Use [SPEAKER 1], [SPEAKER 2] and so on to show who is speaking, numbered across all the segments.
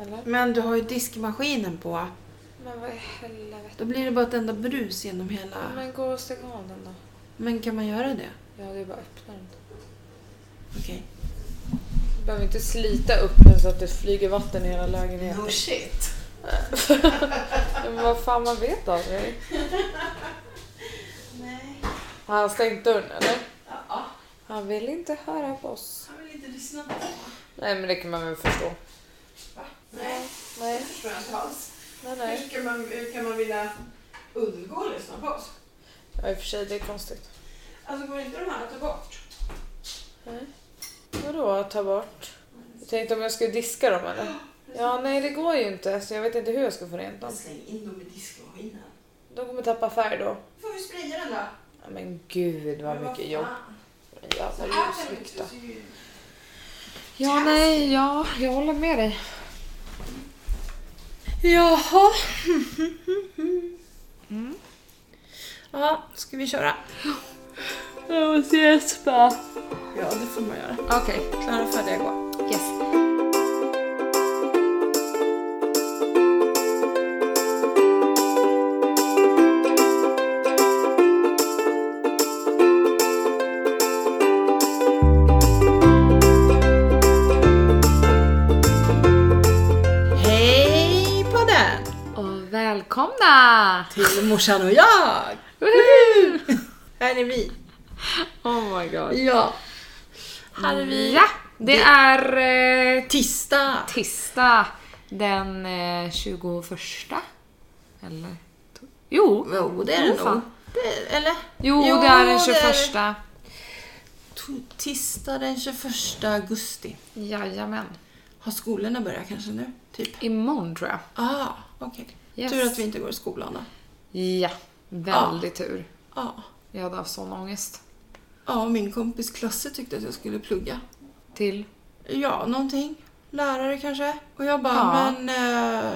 [SPEAKER 1] Eller?
[SPEAKER 2] Men du har ju diskmaskinen på.
[SPEAKER 1] Men vad i helvete.
[SPEAKER 2] Då blir det bara ett enda brus genom hela...
[SPEAKER 1] Men gå och stäng av den då.
[SPEAKER 2] Men kan man göra det?
[SPEAKER 1] Ja, det är bara att öppna den.
[SPEAKER 2] Okej.
[SPEAKER 1] Du behöver inte slita upp den så att det flyger vatten i hela lägenheten.
[SPEAKER 3] No shit.
[SPEAKER 1] Ja, Men vad fan, man vet aldrig.
[SPEAKER 3] Nej.
[SPEAKER 1] Har han stängt dörren eller?
[SPEAKER 3] Ja,
[SPEAKER 1] Han vill inte höra på oss.
[SPEAKER 3] han vill inte lyssna på
[SPEAKER 1] Nej, men det kan man väl förstå.
[SPEAKER 3] Nej, det
[SPEAKER 1] Nej,
[SPEAKER 3] förstår jag inte alls.
[SPEAKER 1] nej, nej.
[SPEAKER 3] Hur kan man, hur kan man vilja undgå att lyssna på oss?
[SPEAKER 1] Ja, i och för sig, det är konstigt.
[SPEAKER 3] Alltså går inte de här att ta bort?
[SPEAKER 1] Nej. Vadå, ta bort? Jag tänkte om jag skulle diska dem eller? Ja, nej det går ju inte så jag vet inte hur jag ska få rent dem.
[SPEAKER 3] Släng in dem i diskmaskinen.
[SPEAKER 1] De kommer tappa färg då.
[SPEAKER 3] Då får vi spraya den då.
[SPEAKER 1] Ja, men gud vad
[SPEAKER 3] Men vad
[SPEAKER 1] mycket jobb.
[SPEAKER 3] fan. Så
[SPEAKER 1] Jävla
[SPEAKER 3] här kan du inte
[SPEAKER 1] ljuslykta.
[SPEAKER 3] se ut.
[SPEAKER 1] Ja, nej, ja, jag håller med dig.
[SPEAKER 2] Jaha. Ja, ska vi köra? Jag
[SPEAKER 1] Oh,
[SPEAKER 2] måste gäspa. Ja, det får man göra.
[SPEAKER 1] Okej,
[SPEAKER 2] Klara, färdiga, gå.
[SPEAKER 1] yes.
[SPEAKER 2] Hej på den!
[SPEAKER 1] Och välkomna!
[SPEAKER 2] Till morsan och jag!
[SPEAKER 1] Woho!
[SPEAKER 2] Här är vi.
[SPEAKER 1] Oh my god.
[SPEAKER 2] Ja.
[SPEAKER 1] Här är vi. Ja, det är eh,
[SPEAKER 2] Tisdag.
[SPEAKER 1] tisdag den eh, 21. Eller? to- Jo.
[SPEAKER 2] Jo, det är det
[SPEAKER 1] Jo,
[SPEAKER 2] nog.
[SPEAKER 1] fan.
[SPEAKER 2] Det, eller?
[SPEAKER 1] Jo,
[SPEAKER 2] Jo,
[SPEAKER 1] det är den
[SPEAKER 2] det är det.
[SPEAKER 1] 21.
[SPEAKER 2] T- Tisdag den 21 augusti.
[SPEAKER 1] Jajamän.
[SPEAKER 2] Har skolorna börjat kanske nu? Typ.
[SPEAKER 1] Imorgon tror jag.
[SPEAKER 2] Ah, okej.
[SPEAKER 1] Yes.
[SPEAKER 2] Tur att vi inte går i skolan då.
[SPEAKER 1] Ja, väldigt tur.
[SPEAKER 2] Ja. Ah.
[SPEAKER 1] Jag hade haft sån ångest.
[SPEAKER 2] Ja, och min kompis Klasse tyckte att jag skulle plugga.
[SPEAKER 1] Till?
[SPEAKER 2] Ja, någonting. Lärare kanske. Och jag bara,
[SPEAKER 1] Ja.
[SPEAKER 2] men eh,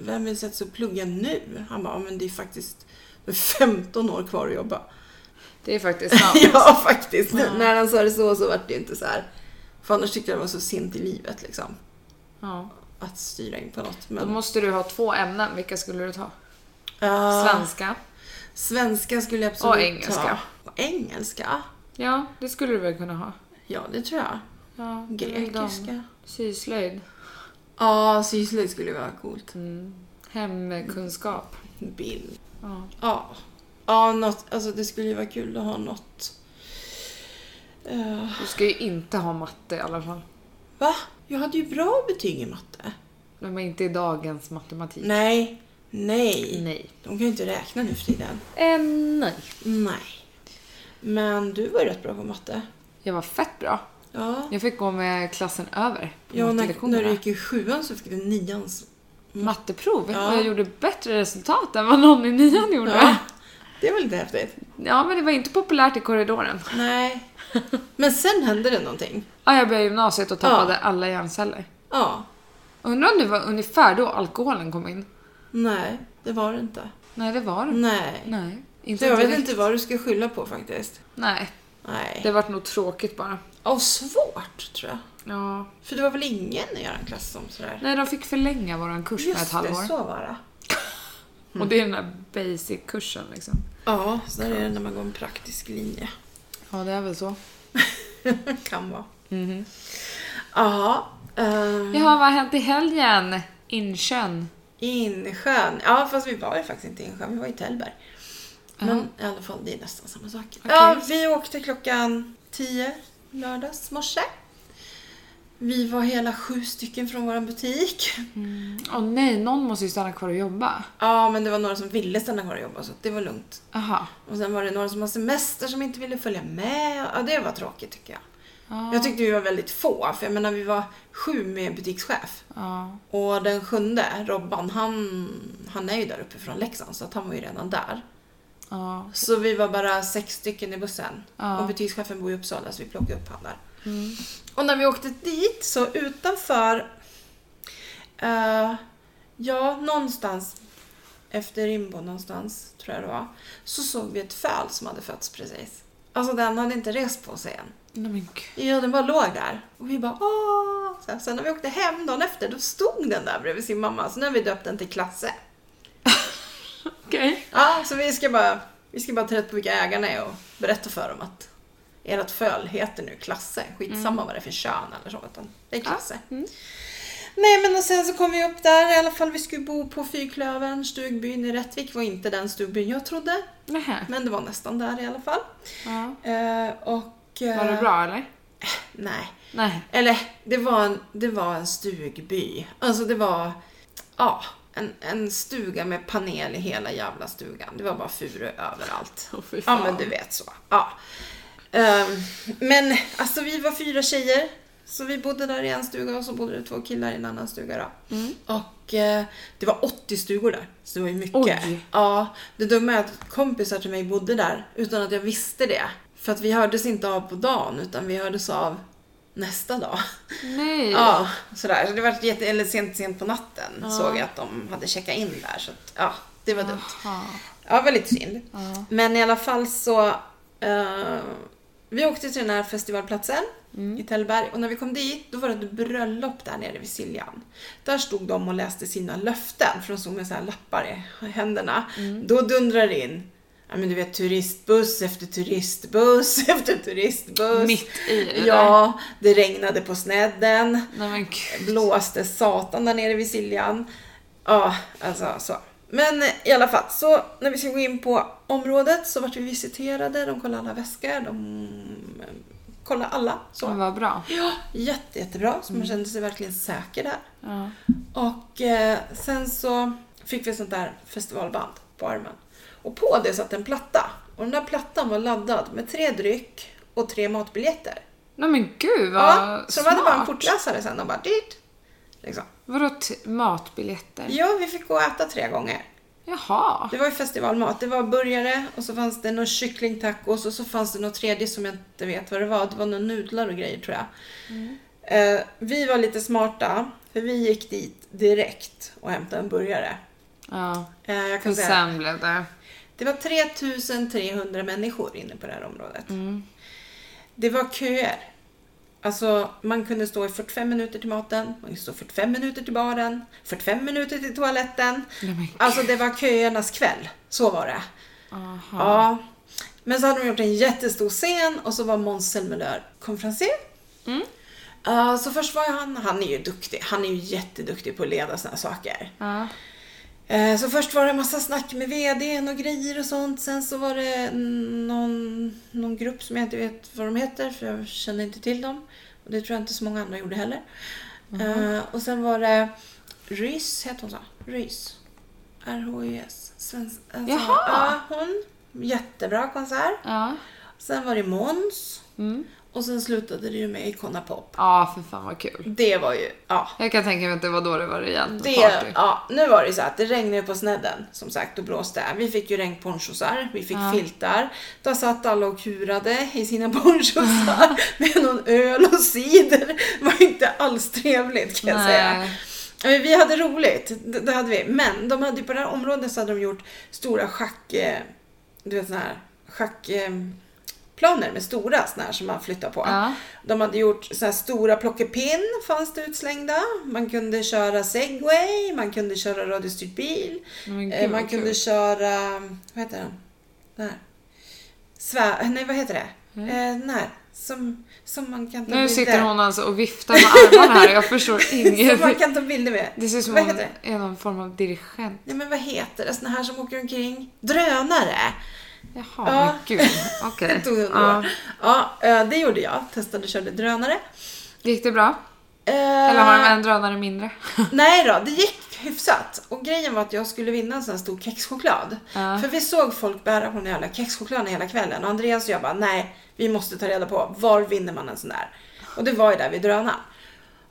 [SPEAKER 2] vem vill sätta sig och plugga nu? Han bara, men det är faktiskt det är 15 år kvar att jobba.
[SPEAKER 1] Det är faktiskt sant.
[SPEAKER 2] ja, faktiskt. När han sa det så så var det ju inte så här. För annars tyckte jag det var så sent i livet liksom.
[SPEAKER 1] ja.
[SPEAKER 2] Att styra in på något.
[SPEAKER 1] Då
[SPEAKER 2] Men,
[SPEAKER 1] måste du ha två ämnen. Vilka skulle du ta?
[SPEAKER 2] Ja,
[SPEAKER 1] Svenska?
[SPEAKER 2] eh, Svenska skulle jag absolut
[SPEAKER 1] Och engelska.
[SPEAKER 2] ta. Och engelska?
[SPEAKER 1] Ja, det skulle du väl kunna ha?
[SPEAKER 2] Ja, det tror jag.
[SPEAKER 1] Ja, det är väl de.
[SPEAKER 2] Grekiska.
[SPEAKER 1] Syslöjd?
[SPEAKER 2] Ja, syslöjd skulle vara coolt.
[SPEAKER 1] Mm. Hemkunskap?
[SPEAKER 2] Bild.
[SPEAKER 1] Ja.
[SPEAKER 2] Ja. Ja, något, alltså det skulle ju vara kul att ha något. Eh,
[SPEAKER 1] Du ska ju inte ha matte i alla fall.
[SPEAKER 2] va? Jag hade ju bra betyg i matte.
[SPEAKER 1] Men inte i dagens matematik.
[SPEAKER 2] Nej. Nej.
[SPEAKER 1] Nej.
[SPEAKER 2] De kan ju inte räkna nu för tiden.
[SPEAKER 1] Eh, nej.
[SPEAKER 2] Nej. Men du var ju rätt bra på matte.
[SPEAKER 1] Jag var fett bra.
[SPEAKER 2] Ja.
[SPEAKER 1] Jag fick gå med klassen över på
[SPEAKER 2] Ja, när,
[SPEAKER 1] mattelektionerna.
[SPEAKER 2] när du gick i sjuan så fick du nians.
[SPEAKER 1] matteprov
[SPEAKER 2] Ja.
[SPEAKER 1] och jag gjorde bättre resultat än vad någon i nian gjorde.
[SPEAKER 2] Ja.
[SPEAKER 1] Ja.
[SPEAKER 2] Det var lite häftigt.
[SPEAKER 1] men det var inte populärt i korridoren.
[SPEAKER 2] Nej. Men sen hände det någonting.
[SPEAKER 1] Ja, jag började gymnasiet och tappade alla hjärnceller.
[SPEAKER 2] Ja.
[SPEAKER 1] Undrar om det var ungefär då alkoholen kom in?
[SPEAKER 2] Nej, det var det inte.
[SPEAKER 1] Nej, det var det inte.
[SPEAKER 2] Nej.
[SPEAKER 1] Nej.
[SPEAKER 2] Mm. Så
[SPEAKER 1] Inte
[SPEAKER 2] jag vet
[SPEAKER 1] direkt.
[SPEAKER 2] inte vad du ska skylla på faktiskt.
[SPEAKER 1] Nej,
[SPEAKER 2] Nej.
[SPEAKER 1] det vart nog tråkigt bara.
[SPEAKER 2] Och svårt tror jag.
[SPEAKER 1] Ja.
[SPEAKER 2] För det var väl ingen i er klass som sådär?
[SPEAKER 1] Nej, de fick förlänga våran kurs med ett halvår.
[SPEAKER 2] det, så var det.
[SPEAKER 1] Och det är den där basic-kursen liksom.
[SPEAKER 2] Ja, så där är det när man går en praktisk linje.
[SPEAKER 1] Ja, det är väl så.
[SPEAKER 2] kan vara.
[SPEAKER 1] Mhm.
[SPEAKER 2] Ja. ehm,
[SPEAKER 1] Jaha, vad har hänt i helgen? Insjön.
[SPEAKER 2] Insjön. Ja, fast vi var ju faktiskt inte i Insjön, vi var i Tällberg. Men i alla fall, det är nästan samma sak. Ja, vi åkte klockan 10 lördags morse. Vi var hela sju stycken från vår butik.
[SPEAKER 1] Åh nej, någon måste ju stanna kvar och jobba.
[SPEAKER 2] Ja, men det var några som ville stanna kvar och jobba så det var lugnt.
[SPEAKER 1] Aha.
[SPEAKER 2] Och sen var det några som har semester som inte ville följa med. Ja, det var tråkigt tycker jag.
[SPEAKER 1] Ja.
[SPEAKER 2] Jag tyckte vi var väldigt få, för jag menar vi var sju med butikschef.
[SPEAKER 1] Ja.
[SPEAKER 2] Och den sjunde, Robban, han, han är ju där uppe från Leksand så att han var ju redan där.
[SPEAKER 1] Ja.
[SPEAKER 2] Så vi var bara sex stycken i bussen.
[SPEAKER 1] Ja. Mm.
[SPEAKER 2] Och butikschefen bor i Uppsala så vi plockade upp han där. Och när vi åkte dit så utanför, eh, ja någonstans efter Rimbo någonstans tror jag det var, så såg vi ett föl som hade fötts precis. Alltså den hade inte rest på sig än.
[SPEAKER 4] Nej men gud.
[SPEAKER 2] Ja, den bara låg där. Och vi bara åh! Så här, sen när vi åkte hem dagen efter, då stod den där bredvid sin mamma. Så nu har vi döpt den till Klasse.
[SPEAKER 1] Okej.
[SPEAKER 2] Ja, så vi ska bara, vi ska bara ta rätt på vilka ägarna är och berätta för dem att ert föl heter nu Klasse. Skitsamma
[SPEAKER 1] Mm.
[SPEAKER 2] vad det är för kön eller så, utan det är Klasse. Nej men och sen så kom vi upp där, i alla fall vi skulle bo på Fyrklövern, stugbyn i Rättvik var inte den stugbyn jag trodde.
[SPEAKER 1] Nähä.
[SPEAKER 2] Men det var nästan där i alla fall.
[SPEAKER 1] Ja.
[SPEAKER 2] Eh, och... eh,
[SPEAKER 1] Var det bra eller?
[SPEAKER 2] Nej.
[SPEAKER 1] Nej.
[SPEAKER 2] Eller, det var en, det var en stugby. Alltså det var, ja, en, en stuga med panel i hela jävla stugan. Det var bara furu överallt.
[SPEAKER 1] Åh, fy
[SPEAKER 2] ja,
[SPEAKER 1] fan.
[SPEAKER 2] men du vet så. Ja. Ehm, men alltså vi var fyra tjejer. Så vi bodde där i en stuga och så bodde det två killar i en annan stuga då. Och eh, det var 80 stugor där. Så det var ju mycket.
[SPEAKER 1] Oj.
[SPEAKER 2] Ja, det dumma är att kompisar till mig bodde där utan att jag visste det. För att vi hördes inte av på dagen utan vi hördes av nästa dag.
[SPEAKER 1] Nej.
[SPEAKER 2] Ja, sådär. Så det var jätte, eller sent, sent på natten såg jag att de hade checkat in där. Så att, ja, det var dumt.
[SPEAKER 1] Ja.
[SPEAKER 2] Ja, väldigt synd.
[SPEAKER 1] Ja.
[SPEAKER 2] Men i alla fall så... eh, vi åkte till den här festivalplatsen
[SPEAKER 1] Mm.
[SPEAKER 2] i Tällberg och när vi kom dit då var det ett bröllop där nere vid Siljan. Där stod de och läste sina löften för de stod med så här lappar i händerna.
[SPEAKER 1] Mm.
[SPEAKER 2] Då dundrar det in Ja men du vet turistbuss efter turistbuss efter turistbuss.
[SPEAKER 1] Mitt i det.
[SPEAKER 2] Ja, det regnade på snedden
[SPEAKER 1] Nej men gud.
[SPEAKER 2] blåste satan där nere vid Siljan. Ja, alltså så. Men i alla fall, så när vi ska gå in på området så vart vi visiterade, de kollade alla väskor, de eh, kollade alla.
[SPEAKER 1] Men
[SPEAKER 2] Så.
[SPEAKER 1] vad bra.
[SPEAKER 2] Ja, jätte, jättebra, så
[SPEAKER 1] Mm.
[SPEAKER 2] man kände sig verkligen säker där.
[SPEAKER 1] Ja.
[SPEAKER 2] Och eh, sen så fick vi sånt där festivalband på armen. Och på det satt en platta. Och den där plattan var laddad med tre dryck och tre matbiljetter.
[SPEAKER 1] Nej men gud vad
[SPEAKER 2] Ja, så de hade bara en
[SPEAKER 1] smart.
[SPEAKER 2] kortläsare sen och bara dit. Liksom.
[SPEAKER 1] Vadå t- matbiljetter?
[SPEAKER 2] Ja, vi fick gå och äta tre gånger.
[SPEAKER 1] Jaha.
[SPEAKER 2] Det var ju festivalmat. Det var burgare och så fanns det någon kycklingtacos och så fanns det något tredje som jag inte vet vad det var. Det var några nudlar och grejer tror jag. Eh, vi var lite smarta för vi gick dit direkt och hämtade en burgare.
[SPEAKER 1] Ja.
[SPEAKER 2] Eh, jag kan
[SPEAKER 1] Och
[SPEAKER 2] säga,
[SPEAKER 1] sen blev det...
[SPEAKER 2] det var 3300 människor inne på det här området.
[SPEAKER 1] Mm.
[SPEAKER 2] Det var köer. Alltså man kunde stå i 45 minuter till maten, man kunde stå 45 minuter till baren, 45 minuter till toaletten.
[SPEAKER 1] Nej men gud.
[SPEAKER 2] Alltså det var köernas kväll, så var det.
[SPEAKER 1] Aha.
[SPEAKER 2] Ja. Men så hade de gjort en jättestor scen och så var Måns Zelmerlöw konferencier.
[SPEAKER 1] Mm.
[SPEAKER 2] Eh, så först var han, han är ju duktig, han är ju jätteduktig på att leda såna här saker.
[SPEAKER 1] Ja.
[SPEAKER 2] Eh, Så först var det en massa snack med VDn och grejer och sånt. Sen så var det någon, någon grupp som jag inte vet vad de heter för jag känner inte till dem. Och det tror jag inte så många andra gjorde heller.
[SPEAKER 1] Mm.
[SPEAKER 2] Eh, Och sen var det Rys, heter hon så? Rys. E R-H-Y-S. Svensk, alltså,
[SPEAKER 1] Jaha!
[SPEAKER 2] Ja, hon. Jättebra konsert.
[SPEAKER 1] Ja.
[SPEAKER 2] Sen var det Måns.
[SPEAKER 1] Mm.
[SPEAKER 2] Och sen slutade det ju med Icona Pop.
[SPEAKER 1] Ja, för fan vad kul.
[SPEAKER 2] Det var ju, ja.
[SPEAKER 1] Jag kan tänka mig att det var då det var rejält med
[SPEAKER 2] Det,
[SPEAKER 1] party.
[SPEAKER 2] ja, nu var det ju så att det regnade på snedden som sagt och blåste. Vi fick ju regnponchosar, vi fick filtar. Där satt alla och kurade i sina ponchosar med någon öl och cider. Det var inte alls trevligt kan jag
[SPEAKER 1] Nej.
[SPEAKER 2] säga. Men Vi hade roligt, det det hade vi. Men de hade ju på det här området så hade de gjort stora schack... eh, Du vet såna här schackplaner med stora såna här som man flyttar på.
[SPEAKER 1] Ja.
[SPEAKER 2] De hade gjort så här stora plockepinn fanns det utslängda. Man kunde köra segway, man kunde köra radiostyrd bil.
[SPEAKER 1] Men gud,
[SPEAKER 2] eh, man
[SPEAKER 1] vad
[SPEAKER 2] kunde
[SPEAKER 1] kul.
[SPEAKER 2] köra, vad heter den? Den här. Svär, nej vad heter det? Eh, den här. Som, som man kan ta
[SPEAKER 1] Mm. Nu
[SPEAKER 2] bilder-
[SPEAKER 1] sitter hon alltså och viftar med armarna här och jag förstår
[SPEAKER 2] Som man
[SPEAKER 1] inget.
[SPEAKER 2] kan ta bilder med.
[SPEAKER 1] Det ser ut som
[SPEAKER 2] vad
[SPEAKER 1] hon
[SPEAKER 2] heter det?
[SPEAKER 1] är någon form av dirigent.
[SPEAKER 2] Nej men vad heter det? Såna här som åker omkring. Drönare!
[SPEAKER 1] Jaha,
[SPEAKER 2] Ja.
[SPEAKER 1] men gud. Okej.
[SPEAKER 2] Det tog hundra
[SPEAKER 1] Ja.
[SPEAKER 2] år. Ja, eh, det gjorde jag. Testade och körde drönare.
[SPEAKER 1] Gick det bra? Eller har de
[SPEAKER 2] Eh.
[SPEAKER 1] en drönare mindre?
[SPEAKER 2] Nej då, det gick hyfsat. Och grejen var att jag skulle vinna en sån här stor kexchoklad.
[SPEAKER 1] Ja.
[SPEAKER 2] För vi såg folk bära på den jävla kexchokladen hela kvällen. Och Andreas och jag bara, nej, vi måste ta reda på var vinner man en sån där? Och det var ju där vid drönaren.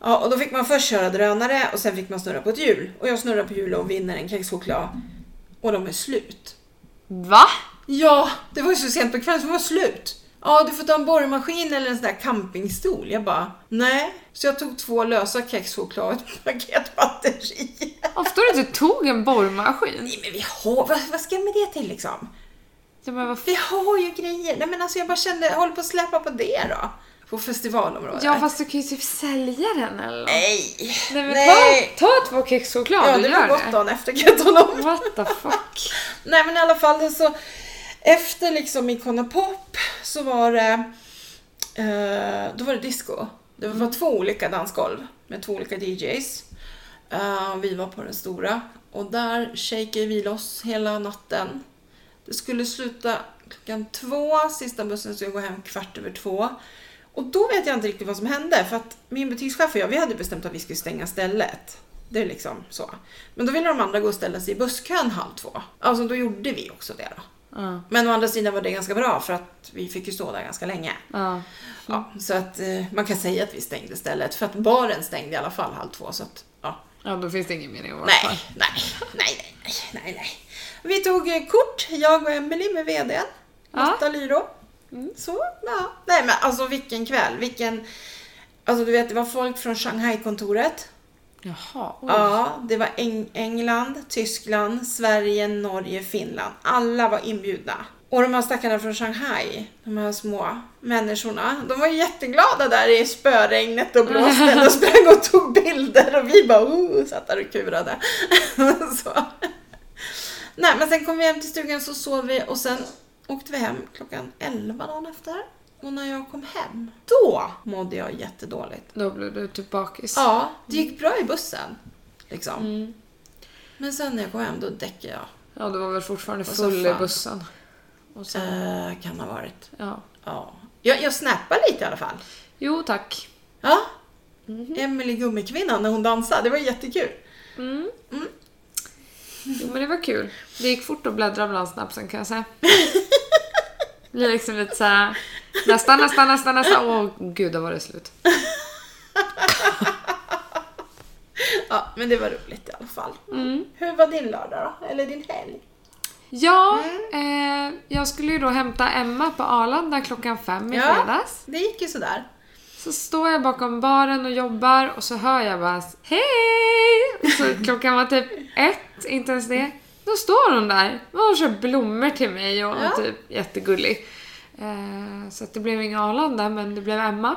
[SPEAKER 2] Ja, och då fick man först köra drönare och sen fick man snurra på ett hjul. Och jag snurrar på hjulet och vinner en kexchoklad. Och de är slut.
[SPEAKER 1] Va?
[SPEAKER 2] Ja, det var ju så sent på kvällen så det var slut. Ja, du får ta en borrmaskin eller en sån där campingstol. Jag bara, nej. Så jag tog två lösa kexchoklad och ett paket batteri.
[SPEAKER 1] Ofta du inte tog en borrmaskin.
[SPEAKER 2] Nej men vi har, vad, vad ska jag med det till liksom?
[SPEAKER 1] Ja, men vad f-
[SPEAKER 2] Vi har ju grejer. Nej men alltså jag bara kände, håll på att släpa på det då. På festivalområdet.
[SPEAKER 1] Ja fast du kan ju typ sälja den eller nåt.
[SPEAKER 2] Nej!
[SPEAKER 1] Nej men
[SPEAKER 2] Nej.
[SPEAKER 1] Ta, ta två kex choklad
[SPEAKER 2] Ja,
[SPEAKER 1] och
[SPEAKER 2] det var
[SPEAKER 1] gör
[SPEAKER 2] gott
[SPEAKER 1] det.
[SPEAKER 2] dagen efter kan jag tala om.
[SPEAKER 1] What the fuck.
[SPEAKER 2] Nej men i alla fall så efter liksom Icona Pop så var det eh, då var det disco. Det var två olika dansgolv med två olika DJs. Eh, vi var på den stora och där shakade vi loss hela natten. Det skulle sluta klockan två, sista bussen skulle gå hem kvart över två. Och då vet jag inte riktigt vad som hände för att min butikschef och jag vi hade bestämt att vi skulle stänga stället. Det är liksom så. Men då ville de andra gå och ställa sig i busskön halv två. Alltså då gjorde vi också det då.
[SPEAKER 1] Ja,
[SPEAKER 2] Men å andra sidan var det ganska bra för att vi fick ju stå där ganska länge.
[SPEAKER 1] ja.
[SPEAKER 2] Ja,
[SPEAKER 1] Mm.
[SPEAKER 2] så att eh, man kan säga att vi stängde stället för att baren stängde i alla fall halv två så att ja.
[SPEAKER 1] ja då finns det ingen mening att vara kvar.
[SPEAKER 2] Nej, nej, nej, nej, nej, nej. Vi tog eh, kort, jag och Emelie med VDn.
[SPEAKER 1] Ja. Mm.
[SPEAKER 2] Lotta Lyro. Så, ja. Nej men alltså vilken kväll, vilken... Alltså du vet, det var folk från Shanghai-kontoret.
[SPEAKER 1] Jaha. oj.
[SPEAKER 2] Ja, det var Eng- England, Tyskland, Sverige, Norge, Finland. Alla var inbjudna. Och de här stackarna från Shanghai, de här små människorna, de var ju jätteglada där i spöregnet och blåsten och sprang och tog bilder och vi bara oh, satt där och kurade. så. Nej, men sen kom vi hem till stugan så sov vi och sen åkte vi hem klockan 11 dagen efter. Och när jag kom hem, då mådde jag jättedåligt.
[SPEAKER 1] Då blev du typ bakis. Mm.
[SPEAKER 2] Ja, det gick bra i bussen. Liksom. Men sen när jag kom hem då däckade jag.
[SPEAKER 1] Ja, du var väl fortfarande
[SPEAKER 2] Och så
[SPEAKER 1] full i
[SPEAKER 2] fan.
[SPEAKER 1] bussen. Och sen,
[SPEAKER 2] Eh, kan ha varit.
[SPEAKER 1] ja.
[SPEAKER 2] Ja. Jag, jag snappade lite i alla fall. Mm-hmm.
[SPEAKER 1] Jo tack.
[SPEAKER 2] Ja. Emily Gummikvinnan när hon dansade, det var jättekul.
[SPEAKER 1] Mm. Jo men det var kul. Det gick fort att bläddra bland snapsen kan jag säga. Det är liksom lite såhär, nästa, nästa, nästa, nästa. Åh gud, då var det slut.
[SPEAKER 2] Ja, men det var roligt i alla fall.
[SPEAKER 1] Mm.
[SPEAKER 2] Hur var din lördag då? Eller din helg?
[SPEAKER 1] Ja,
[SPEAKER 2] Mm.
[SPEAKER 1] eh, jag skulle ju då hämta Emma på Arlanda klockan fem i fredags.
[SPEAKER 2] det gick ju sådär.
[SPEAKER 1] Så står jag bakom baren och jobbar och så hör jag bara Hej! Och så klockan var typ ett, inte ens det. Då står hon där och kör blommor till mig och
[SPEAKER 2] Ja.
[SPEAKER 1] typ jättegullig. Eh, så att det blev inga Arlanda men det blev Emma.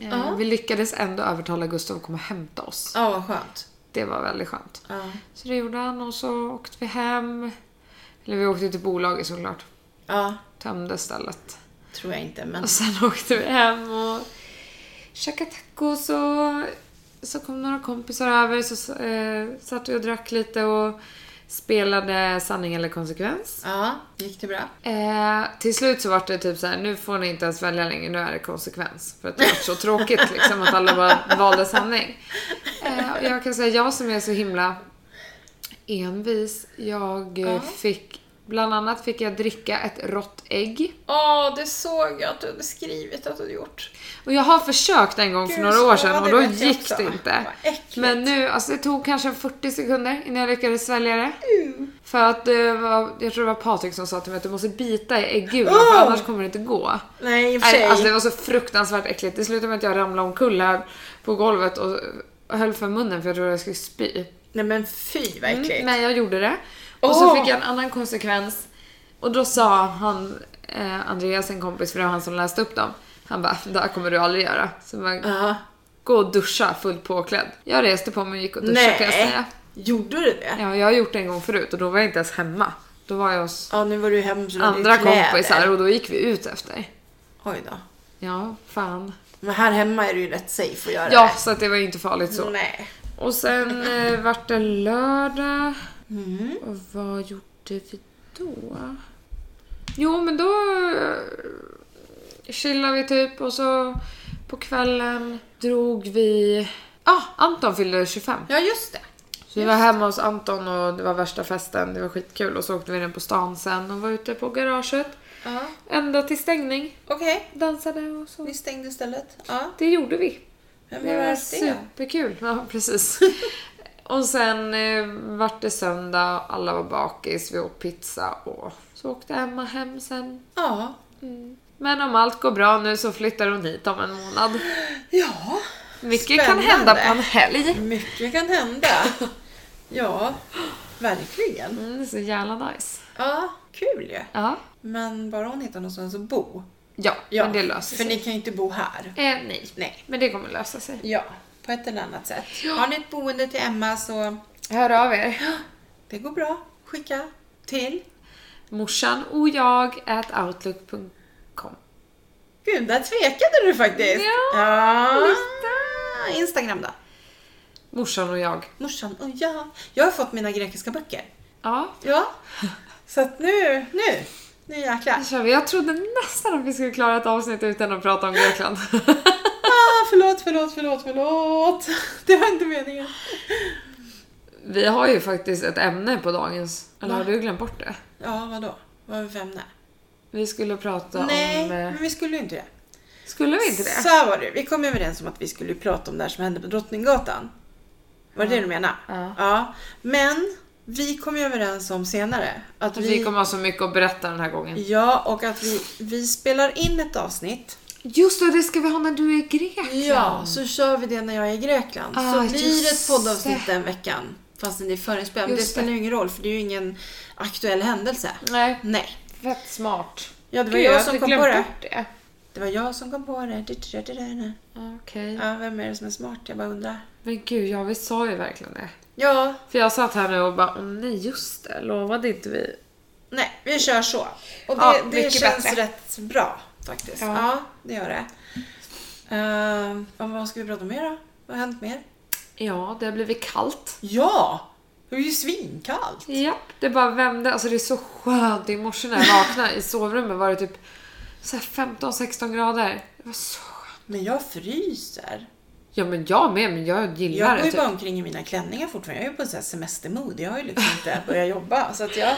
[SPEAKER 1] Eh,
[SPEAKER 2] Ja.
[SPEAKER 1] Vi lyckades ändå övertala Gustav att komma och hämta oss.
[SPEAKER 2] Ja, vad skönt.
[SPEAKER 1] Det var väldigt skönt.
[SPEAKER 2] Ja.
[SPEAKER 1] Så det gjorde han och så åkte vi hem. Eller vi åkte till bolaget såklart.
[SPEAKER 2] ja,
[SPEAKER 1] Tömde stället.
[SPEAKER 2] tror jag inte, men...
[SPEAKER 1] Och sen åkte vi hem och käkade tacos och så kom några kompisar över så eh, satt vi och drack lite och spelade sanning eller konsekvens.
[SPEAKER 2] Ja, gick det bra?
[SPEAKER 1] Eh, till slut så var det typ så här: nu får ni inte ens välja längre, nu är det konsekvens. För att det var så tråkigt liksom att alla bara valde sanning. Eh, och jag kan säga, jag som är så himla envis, jag eh,
[SPEAKER 2] Ja.
[SPEAKER 1] fick, bland annat fick jag dricka ett rått ägg.
[SPEAKER 2] Ja, det såg jag att du hade skrivit att du hade gjort.
[SPEAKER 1] Och jag har försökt en gång för
[SPEAKER 2] Gud,
[SPEAKER 1] några
[SPEAKER 2] så
[SPEAKER 1] år
[SPEAKER 2] var
[SPEAKER 1] sedan och
[SPEAKER 2] det Oh
[SPEAKER 1] då
[SPEAKER 2] vet jag
[SPEAKER 1] gick
[SPEAKER 2] också.
[SPEAKER 1] det inte.
[SPEAKER 2] Vad äckligt.
[SPEAKER 1] Men nu, alltså det tog kanske 40 sekunder innan jag lyckades svälja det.
[SPEAKER 2] Uh.
[SPEAKER 1] För att det var, jag tror det var Patrik som sa till mig att du måste bita i äggulan för
[SPEAKER 2] Åh!
[SPEAKER 1] annars kommer det inte gå.
[SPEAKER 2] Nej, Oh! i och för sig.
[SPEAKER 1] Nej, alltså det var så fruktansvärt äckligt. Det slutade med att jag ramlade omkull här på golvet och och höll för munnen för jag trodde jag skulle spy.
[SPEAKER 2] Nej men fy vad äckligt.
[SPEAKER 1] Mm, men jag gjorde det. Och så
[SPEAKER 2] Åh!
[SPEAKER 1] fick jag en annan konsekvens. Och då sa han, eh, Andreas, en kompis, för det var han som läste upp dem. Han bara, det här kommer du aldrig göra. Så jag bara,
[SPEAKER 2] Ja.
[SPEAKER 1] gå och duscha fullt påklädd. Jag reste på mig och gick och duschade kan jag
[SPEAKER 2] Nej.
[SPEAKER 1] säga.
[SPEAKER 2] Gjorde du det? Ja,
[SPEAKER 1] Ja, jag har gjort det en gång förut och då var jag inte ens hemma. Då var jag hos
[SPEAKER 2] nu var du hem så du hade
[SPEAKER 1] andra
[SPEAKER 2] kläder.
[SPEAKER 1] kompisar och då gick vi ut efter.
[SPEAKER 2] Oj då.
[SPEAKER 1] Ja, fan.
[SPEAKER 2] Men här hemma är du ju rätt safe att göra
[SPEAKER 1] Ja, så att det var ju inte farligt
[SPEAKER 2] det.
[SPEAKER 1] så.
[SPEAKER 2] Nej.
[SPEAKER 1] Och sen eh, vart det lördag.
[SPEAKER 2] Mm.
[SPEAKER 1] Och vad gjorde vi då? Jo, men då eh, chillade vi typ och så på kvällen drog vi... Ja, ah, Anton fyllde 25.
[SPEAKER 2] Ja just det.
[SPEAKER 1] Så vi var hemma hos Anton och det var värsta festen. Det var skitkul och så åkte vi ner på stan sen och var ute på garaget.
[SPEAKER 2] Ja.
[SPEAKER 1] Ända till stängning.
[SPEAKER 2] Okej,
[SPEAKER 1] Dansade och så.
[SPEAKER 2] vi stängde istället. Ja.
[SPEAKER 1] Det gjorde vi.
[SPEAKER 2] Vem
[SPEAKER 1] Det
[SPEAKER 2] var
[SPEAKER 1] var
[SPEAKER 2] det? det?
[SPEAKER 1] superkul. Ja, precis. och sen eh, vart det söndag, alla var bakis, vi åt pizza och så åkte Emma hem sen.
[SPEAKER 2] Ja.
[SPEAKER 1] Men om allt går bra nu så flyttar hon hit om en månad.
[SPEAKER 2] Ja.
[SPEAKER 1] Mycket kan
[SPEAKER 2] Spännande.
[SPEAKER 1] hända på en helg.
[SPEAKER 2] Mycket kan hända. ja. Verkligen.
[SPEAKER 1] Mm, det är så jävla nice.
[SPEAKER 2] Ja. Kul ju.
[SPEAKER 1] Ja.
[SPEAKER 2] Men bara hon hittar någonstans att bo.
[SPEAKER 1] Ja,
[SPEAKER 2] Ja,
[SPEAKER 1] men det löser
[SPEAKER 2] För
[SPEAKER 1] sig.
[SPEAKER 2] ni kan ju inte bo här.
[SPEAKER 1] Eh, nej,
[SPEAKER 2] Nej.
[SPEAKER 1] men det kommer lösa sig.
[SPEAKER 2] Ja, på ett eller annat sätt. Har ni ett boende till Emma så
[SPEAKER 1] Hör av er.
[SPEAKER 2] det går bra. Skicka till.
[SPEAKER 1] Morsan och jag at outlook.com.
[SPEAKER 2] Gud, där tvekade du faktiskt.
[SPEAKER 1] Ja,
[SPEAKER 2] lite. Instagram då.
[SPEAKER 1] Morsan och jag.
[SPEAKER 2] Morsan och jag. Jag har fått mina grekiska böcker.
[SPEAKER 1] Ja,
[SPEAKER 2] Ja. Så att nu, nu, nu jäklar.
[SPEAKER 1] det kör vi. Alltså, Jag trodde nästan att vi skulle klara ett avsnitt utan att prata om Grekland.
[SPEAKER 2] Ah, förlåt, förlåt, förlåt, förlåt. Det var inte meningen.
[SPEAKER 1] vi har ju faktiskt ett ämne på dagens... Eller har du glömt bort det?
[SPEAKER 2] Ja, vadå? Vad har vi för ämne?
[SPEAKER 1] Vi skulle prata
[SPEAKER 2] Nej,
[SPEAKER 1] om... eh,
[SPEAKER 2] men vi skulle ju inte det.
[SPEAKER 1] Skulle vi inte det?
[SPEAKER 2] Så här var det, vi kom överens om att vi skulle prata om det här som hände på Drottninggatan. Var det det du menade?
[SPEAKER 1] Ja.
[SPEAKER 2] Men vi kom ju överens om senare att
[SPEAKER 1] Vi,
[SPEAKER 2] vi...
[SPEAKER 1] vi kommer ha så mycket att berätta den här gången.
[SPEAKER 2] Ja, och att vi, vi spelar in ett avsnitt.
[SPEAKER 1] Just det, det ska vi ha när du är i Grekland.
[SPEAKER 2] Ja, så kör vi det när jag är i Grekland.
[SPEAKER 1] Ah,
[SPEAKER 2] så blir det ett
[SPEAKER 1] just
[SPEAKER 2] poddavsnitt
[SPEAKER 1] det.
[SPEAKER 2] den veckan. Fastän det är förinspelat. Men
[SPEAKER 1] Just
[SPEAKER 2] det spelar ju ingen roll för det är ju ingen aktuell händelse.
[SPEAKER 1] Nej,
[SPEAKER 2] Nej.
[SPEAKER 1] fett smart.
[SPEAKER 2] Ja, det var
[SPEAKER 1] Gud,
[SPEAKER 2] jag,
[SPEAKER 1] hade
[SPEAKER 2] som kom
[SPEAKER 1] glömt
[SPEAKER 2] på det.
[SPEAKER 1] bort Mm. det.
[SPEAKER 2] Det var jag som kom på det. Du, du, du, du, du.
[SPEAKER 1] Okej.
[SPEAKER 2] Ja, vem är det som är smart? Jag bara undrar.
[SPEAKER 1] Men gud, ja vi sa ju verkligen det.
[SPEAKER 2] Ja,
[SPEAKER 1] För jag satt här nu och bara, åh nej just det, lovade inte vi?
[SPEAKER 2] nej, vi kör så. Och det,
[SPEAKER 1] Ja,
[SPEAKER 2] det
[SPEAKER 1] mycket
[SPEAKER 2] känns
[SPEAKER 1] bättre.
[SPEAKER 2] rätt bra faktiskt. Ja,
[SPEAKER 1] Ja.
[SPEAKER 2] det gör det. Ehm, och vad ska vi prata om mer då? Vad har hänt mer?
[SPEAKER 1] Ja, det har blivit kallt.
[SPEAKER 2] Ja! Det är ju svinkallt.
[SPEAKER 1] Ja, det bara vände. Alltså det är så skönt. I morse när jag vaknade i sovrummet var det typ så här 15-16 grader. Det var så skönt.
[SPEAKER 2] Men jag fryser.
[SPEAKER 1] Ja men jag med, men jag gillar
[SPEAKER 2] Jag går
[SPEAKER 1] det.
[SPEAKER 2] ju
[SPEAKER 1] Typ.
[SPEAKER 2] bara omkring i mina klänningar fortfarande. Jag är ju på en sån här semestermod. Jag har ju liksom inte börjat jobba. Så att jag...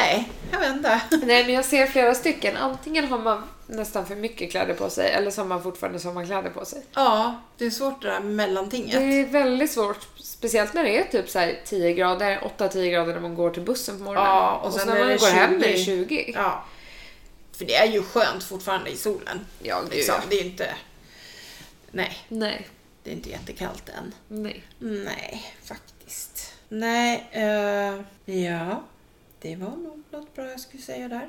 [SPEAKER 2] Nej, jag vet inte.
[SPEAKER 1] Nej men jag ser flera stycken. Antingen har man nästan för mycket kläder på sig eller så har man fortfarande sommarkläder på sig.
[SPEAKER 2] Ja, det är svårt det där mellantinget.
[SPEAKER 1] Det är väldigt svårt, speciellt när det är typ så här 10 grader, 8-10 grader när man går till bussen på morgonen.
[SPEAKER 2] Ja, och
[SPEAKER 1] och,
[SPEAKER 2] sen
[SPEAKER 1] sen när
[SPEAKER 2] är
[SPEAKER 1] man
[SPEAKER 2] det
[SPEAKER 1] går hem är det
[SPEAKER 2] 20.
[SPEAKER 1] 20.
[SPEAKER 2] Ja. För det är ju skönt fortfarande i solen.
[SPEAKER 1] Ja, gud,
[SPEAKER 2] liksom.
[SPEAKER 1] ja.
[SPEAKER 2] Det är ju inte... Nej,
[SPEAKER 1] Nej,
[SPEAKER 2] det är inte jättekallt än.
[SPEAKER 1] nej.
[SPEAKER 2] Nej, faktiskt. Nej, eh, ja. Det var nog något bra jag skulle säga där.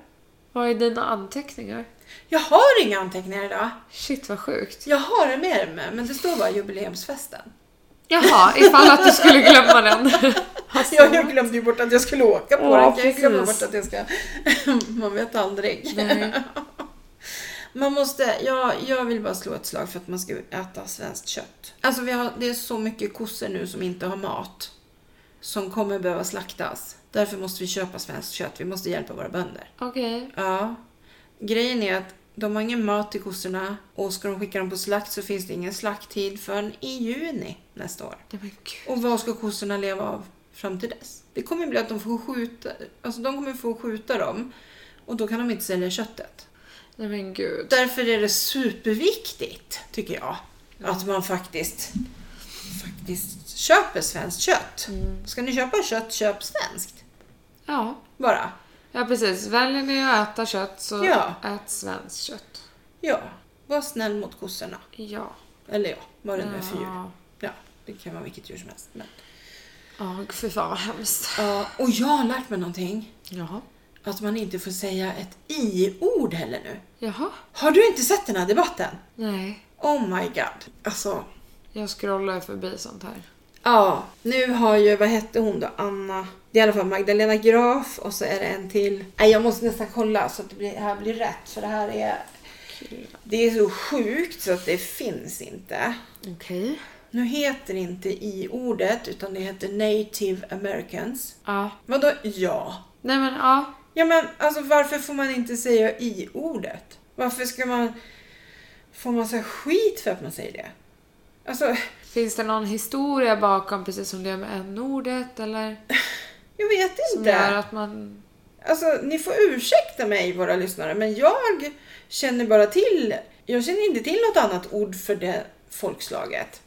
[SPEAKER 1] Vad är dina anteckningar?
[SPEAKER 2] Jag har inga anteckningar idag.
[SPEAKER 1] Shit vad sjukt.
[SPEAKER 2] Jag har det med mig, men det står bara jubileumsfesten.
[SPEAKER 1] Jaha, ifall att du skulle glömma den. Alltså,
[SPEAKER 2] Ja, jag glömde ju bort att jag skulle åka på
[SPEAKER 1] Ja,
[SPEAKER 2] den. Jag kan ju glömma
[SPEAKER 1] precis.
[SPEAKER 2] bort att jag ska... Man vet aldrig.
[SPEAKER 1] nej.
[SPEAKER 2] Man måste, ja, jag vill bara slå ett slag för att man ska äta svenskt kött. Alltså vi har, det är så mycket kossor nu som inte har mat. Som kommer behöva slaktas. Därför måste vi köpa svenskt kött. Vi måste hjälpa våra bönder.
[SPEAKER 1] Okej.
[SPEAKER 2] Ja. Grejen är att de har ingen mat till kossorna och ska de skicka dem på slakt så finns det ingen slakttid förrän i juni nästa år.
[SPEAKER 1] Nej men gud.
[SPEAKER 2] Och vad ska kossorna leva av fram till dess? Det kommer bli att de får skjuta, alltså de kommer få skjuta dem och då kan de inte sälja köttet.
[SPEAKER 1] Nej men gud.
[SPEAKER 2] Därför är det superviktigt, tycker jag, att man faktiskt, faktiskt köper svenskt kött. Ska ni köpa kött, köp svenskt.
[SPEAKER 1] Ja.
[SPEAKER 2] Bara.
[SPEAKER 1] ja, precis. Väljer ni att äta kött så
[SPEAKER 2] Ja.
[SPEAKER 1] ät svenskt kött.
[SPEAKER 2] Ja, var snäll mot kossorna.
[SPEAKER 1] Ja.
[SPEAKER 2] Eller ja, vad det nu är för djur.
[SPEAKER 1] Ja,
[SPEAKER 2] Ja, det kan vara vilket djur som helst. Men.
[SPEAKER 1] Ja, fy fan vad hemskt.
[SPEAKER 2] Ja, och jag har lärt mig någonting.
[SPEAKER 1] Jaha.
[SPEAKER 2] Att man inte får säga ett i-ord heller nu.
[SPEAKER 1] Jaha.
[SPEAKER 2] Har du inte sett den här debatten?
[SPEAKER 1] Nej.
[SPEAKER 2] Oh my god. Alltså,
[SPEAKER 1] Jag scrollar förbi sånt här.
[SPEAKER 2] Ja, nu har ju, vad hette hon då, Anna, det är i alla fall Magdalena Graf och så är det en till. Nej, jag måste nästan kolla så att det blir, här blir rätt för det här är, det är så sjukt så att det finns inte.
[SPEAKER 1] Okej.
[SPEAKER 2] Nu heter det inte i ordet utan det heter native americans.
[SPEAKER 1] Ja.
[SPEAKER 2] Vadå ja?
[SPEAKER 1] Nej men ja.
[SPEAKER 2] Ja men alltså varför får man inte säga i ordet? Varför ska man, får man så här skit för att man säger det? Alltså,
[SPEAKER 1] Finns det någon historia bakom precis som det är med n-ordet eller?
[SPEAKER 2] jag vet inte.
[SPEAKER 1] Som gör att man...
[SPEAKER 2] Alltså, ni får ursäkta mig våra lyssnare, men jag känner bara till, jag känner inte till något annat ord för det folkslaget.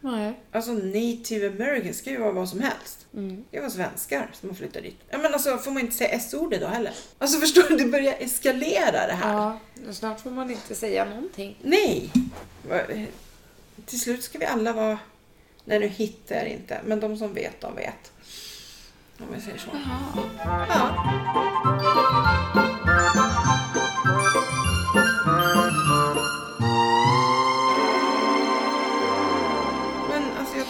[SPEAKER 1] Nej.
[SPEAKER 2] Alltså native americans ska ju vara vad som helst.
[SPEAKER 1] Mm.
[SPEAKER 2] Det var svenskar som har flyttat dit. Ja men alltså får man inte säga S-ordet då heller? Alltså förstår du, det börjar eskalera det här.
[SPEAKER 1] Ja. Snart får man inte säga någonting.
[SPEAKER 2] Nej! Va- Till slut ska vi alla vara... Nej nu hittar jag inte, men de som vet, de vet. Om jag säger så. Ja.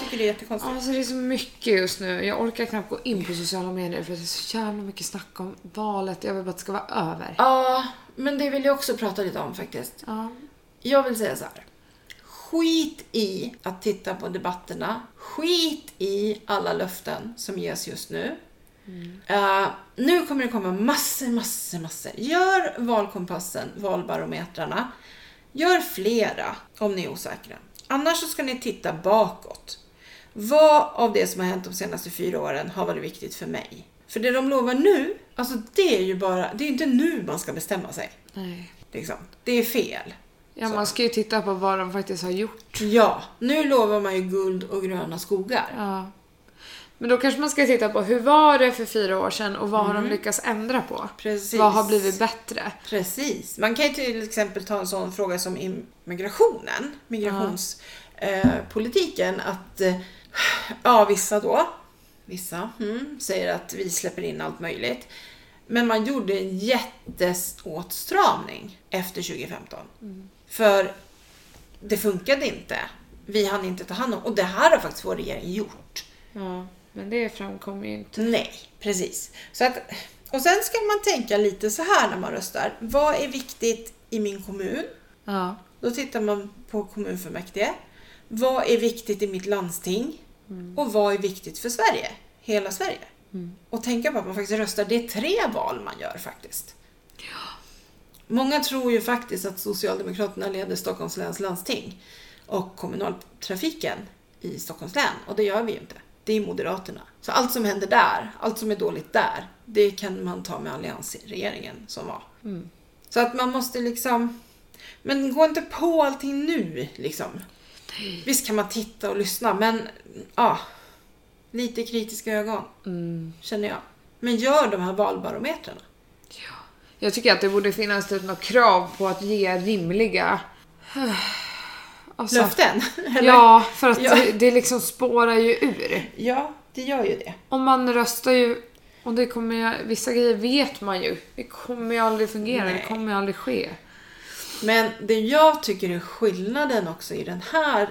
[SPEAKER 2] tycker det är jättekonstigt.
[SPEAKER 1] Alltså det är så mycket just nu. Jag orkar knappt gå in på sociala medier för det är så jävla mycket snack om valet. Jag vill bara att det ska vara över.
[SPEAKER 2] Ja, men det vill jag också prata lite om faktiskt.
[SPEAKER 1] Ja.
[SPEAKER 2] Jag vill säga så här. Skit i att titta på debatterna. Skit i alla löften som ges just nu. Eh, nu kommer det komma massor, massor, massor. Gör valkompassen, valbarometrarna. Gör flera om ni är osäkra. Annars så ska ni titta bakåt. Vad av det som har hänt de senaste fyra åren har varit viktigt för mig? För det de lovar nu, alltså det är ju bara, det är ju inte nu man ska bestämma sig.
[SPEAKER 1] Nej.
[SPEAKER 2] Liksom. Det är fel.
[SPEAKER 1] Ja, man ska ju titta på vad de faktiskt har gjort.
[SPEAKER 2] Ja, nu lovar man ju guld och gröna skogar.
[SPEAKER 1] Ja. Men då kanske man ska titta på hur var det för fyra år sedan och vad har de lyckats ändra på?
[SPEAKER 2] Precis.
[SPEAKER 1] Vad har blivit bättre?
[SPEAKER 2] Precis. Man kan ju till exempel ta en sån fråga som immigrationen, migrationspolitiken, att eh, ja, vissa då, vissa, mm, säger att vi släpper in allt möjligt. Men man gjorde en jätteåtstramning efter 2015.
[SPEAKER 1] Mm.
[SPEAKER 2] För det funkade inte. Vi hann inte ta hand om, och det här har faktiskt vår regering gjort.
[SPEAKER 1] Ja, men det framkommer ju inte.
[SPEAKER 2] Nej, precis. Så att, och sen ska man tänka lite så här när man röstar. Vad är viktigt i min kommun?
[SPEAKER 1] Ja.
[SPEAKER 2] Då tittar man på kommunfullmäktige. Vad är viktigt i mitt landsting? Och vad är viktigt för Sverige? Hela Sverige. Och tänka på att man faktiskt röstar. Det är tre val man gör faktiskt. Många tror ju faktiskt att Socialdemokraterna leder Stockholms läns landsting och kommunaltrafiken i Stockholms län. Och det gör vi ju inte. Det är Moderaterna. Så allt som händer där, allt som är dåligt där, det kan man ta med alliansregeringen som var. Så att man måste liksom... Men gå inte på allting nu liksom. Visst kan man titta och lyssna men ja, lite kritiska ögon känner jag. Men gör de här valbarometrarna.
[SPEAKER 1] Jag tycker att det borde finnas typ något krav på att ge rimliga... Alltså,
[SPEAKER 2] Löften? Eller?
[SPEAKER 1] Ja, för att
[SPEAKER 2] Ja.
[SPEAKER 1] det- det liksom spårar ju ur.
[SPEAKER 2] ja, det gör ju det.
[SPEAKER 1] Om man röstar ju... Och det kommer jag, vissa grejer vet man ju. Det kommer ju aldrig fungera,
[SPEAKER 2] Nej.
[SPEAKER 1] det kommer ju aldrig ske.
[SPEAKER 2] Men det jag tycker är skillnaden också i den här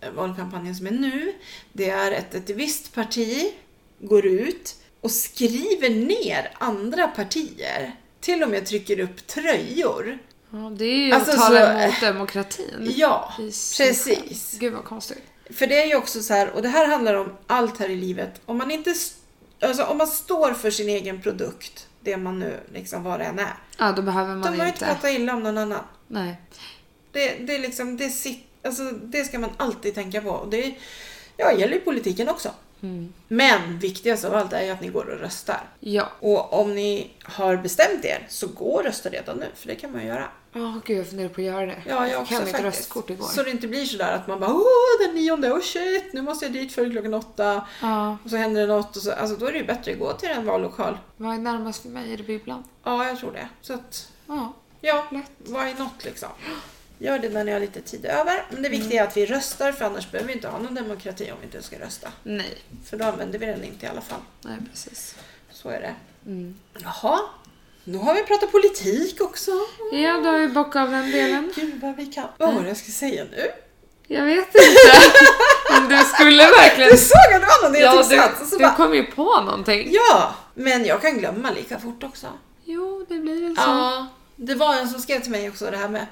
[SPEAKER 2] eh, valkampanjen som är nu, det är att ett visst parti går ut och skriver ner andra partier. Till och med trycker upp tröjor.
[SPEAKER 1] Ja, det är ju
[SPEAKER 2] Alltså,
[SPEAKER 1] att tala
[SPEAKER 2] så-
[SPEAKER 1] emot demokratin.
[SPEAKER 2] Ja,
[SPEAKER 1] I sig
[SPEAKER 2] precis.
[SPEAKER 1] själv. Gud vad konstigt.
[SPEAKER 2] För det är ju också så här, och det här handlar om allt här i livet. Om man inte, s- alltså om man står för sin egen produkt, det man nu liksom vad det än är.
[SPEAKER 1] Ja, då behöver
[SPEAKER 2] Då
[SPEAKER 1] man
[SPEAKER 2] behöver man inte
[SPEAKER 1] inte.
[SPEAKER 2] prata illa om någon annan.
[SPEAKER 1] Nej.
[SPEAKER 2] Det, det är liksom, det sitt, alltså det ska man alltid tänka på. Och det ja, gäller ju politiken också. Men viktigast av allt är ju att ni går och röstar.
[SPEAKER 1] Mm. Ja.
[SPEAKER 2] Och om ni har bestämt er, så gå och rösta redan nu, för det kan man ju göra.
[SPEAKER 1] Ja, gud jag funderar på att göra det.
[SPEAKER 2] Ja, jag
[SPEAKER 1] Fick
[SPEAKER 2] också
[SPEAKER 1] hem mitt
[SPEAKER 2] faktiskt.
[SPEAKER 1] röstkort igår.
[SPEAKER 2] Så det inte blir sådär att man bara åh den nionde, oh shit, nu måste jag dit före klockan åtta.
[SPEAKER 1] Ja,
[SPEAKER 2] Och så händer det något och så, alltså då är det ju bättre att gå till en vallokal.
[SPEAKER 1] vad är närmast för mig? Är det bibblan?
[SPEAKER 2] Ja, jag tror det. Så att,
[SPEAKER 1] Ja,
[SPEAKER 2] ja,
[SPEAKER 1] lätt.
[SPEAKER 2] vad är något liksom? Gör det när ni har lite tid över. Men det viktiga
[SPEAKER 1] Mm.
[SPEAKER 2] är att vi röstar för annars behöver vi inte ha någon demokrati om vi inte ska rösta.
[SPEAKER 1] Nej.
[SPEAKER 2] För då använder vi den inte i alla fall.
[SPEAKER 1] Nej, precis.
[SPEAKER 2] Så är det.
[SPEAKER 1] Mm.
[SPEAKER 2] Jaha, nu har vi pratat politik också.
[SPEAKER 1] Ja, då har vi bockat av den delen.
[SPEAKER 2] Gud vad vi kan. Vad var det jag skulle säga nu?
[SPEAKER 1] Jag vet inte. Men du skulle verkligen...
[SPEAKER 2] Du såg att det var någonting jag
[SPEAKER 1] Ja,
[SPEAKER 2] tog sats och
[SPEAKER 1] du,
[SPEAKER 2] så
[SPEAKER 1] du
[SPEAKER 2] bara
[SPEAKER 1] kom ju på någonting.
[SPEAKER 2] Ja, men jag kan glömma lika fort också.
[SPEAKER 1] Jo, det blir väl så.
[SPEAKER 2] Ja, det var en som skrev till mig också det här med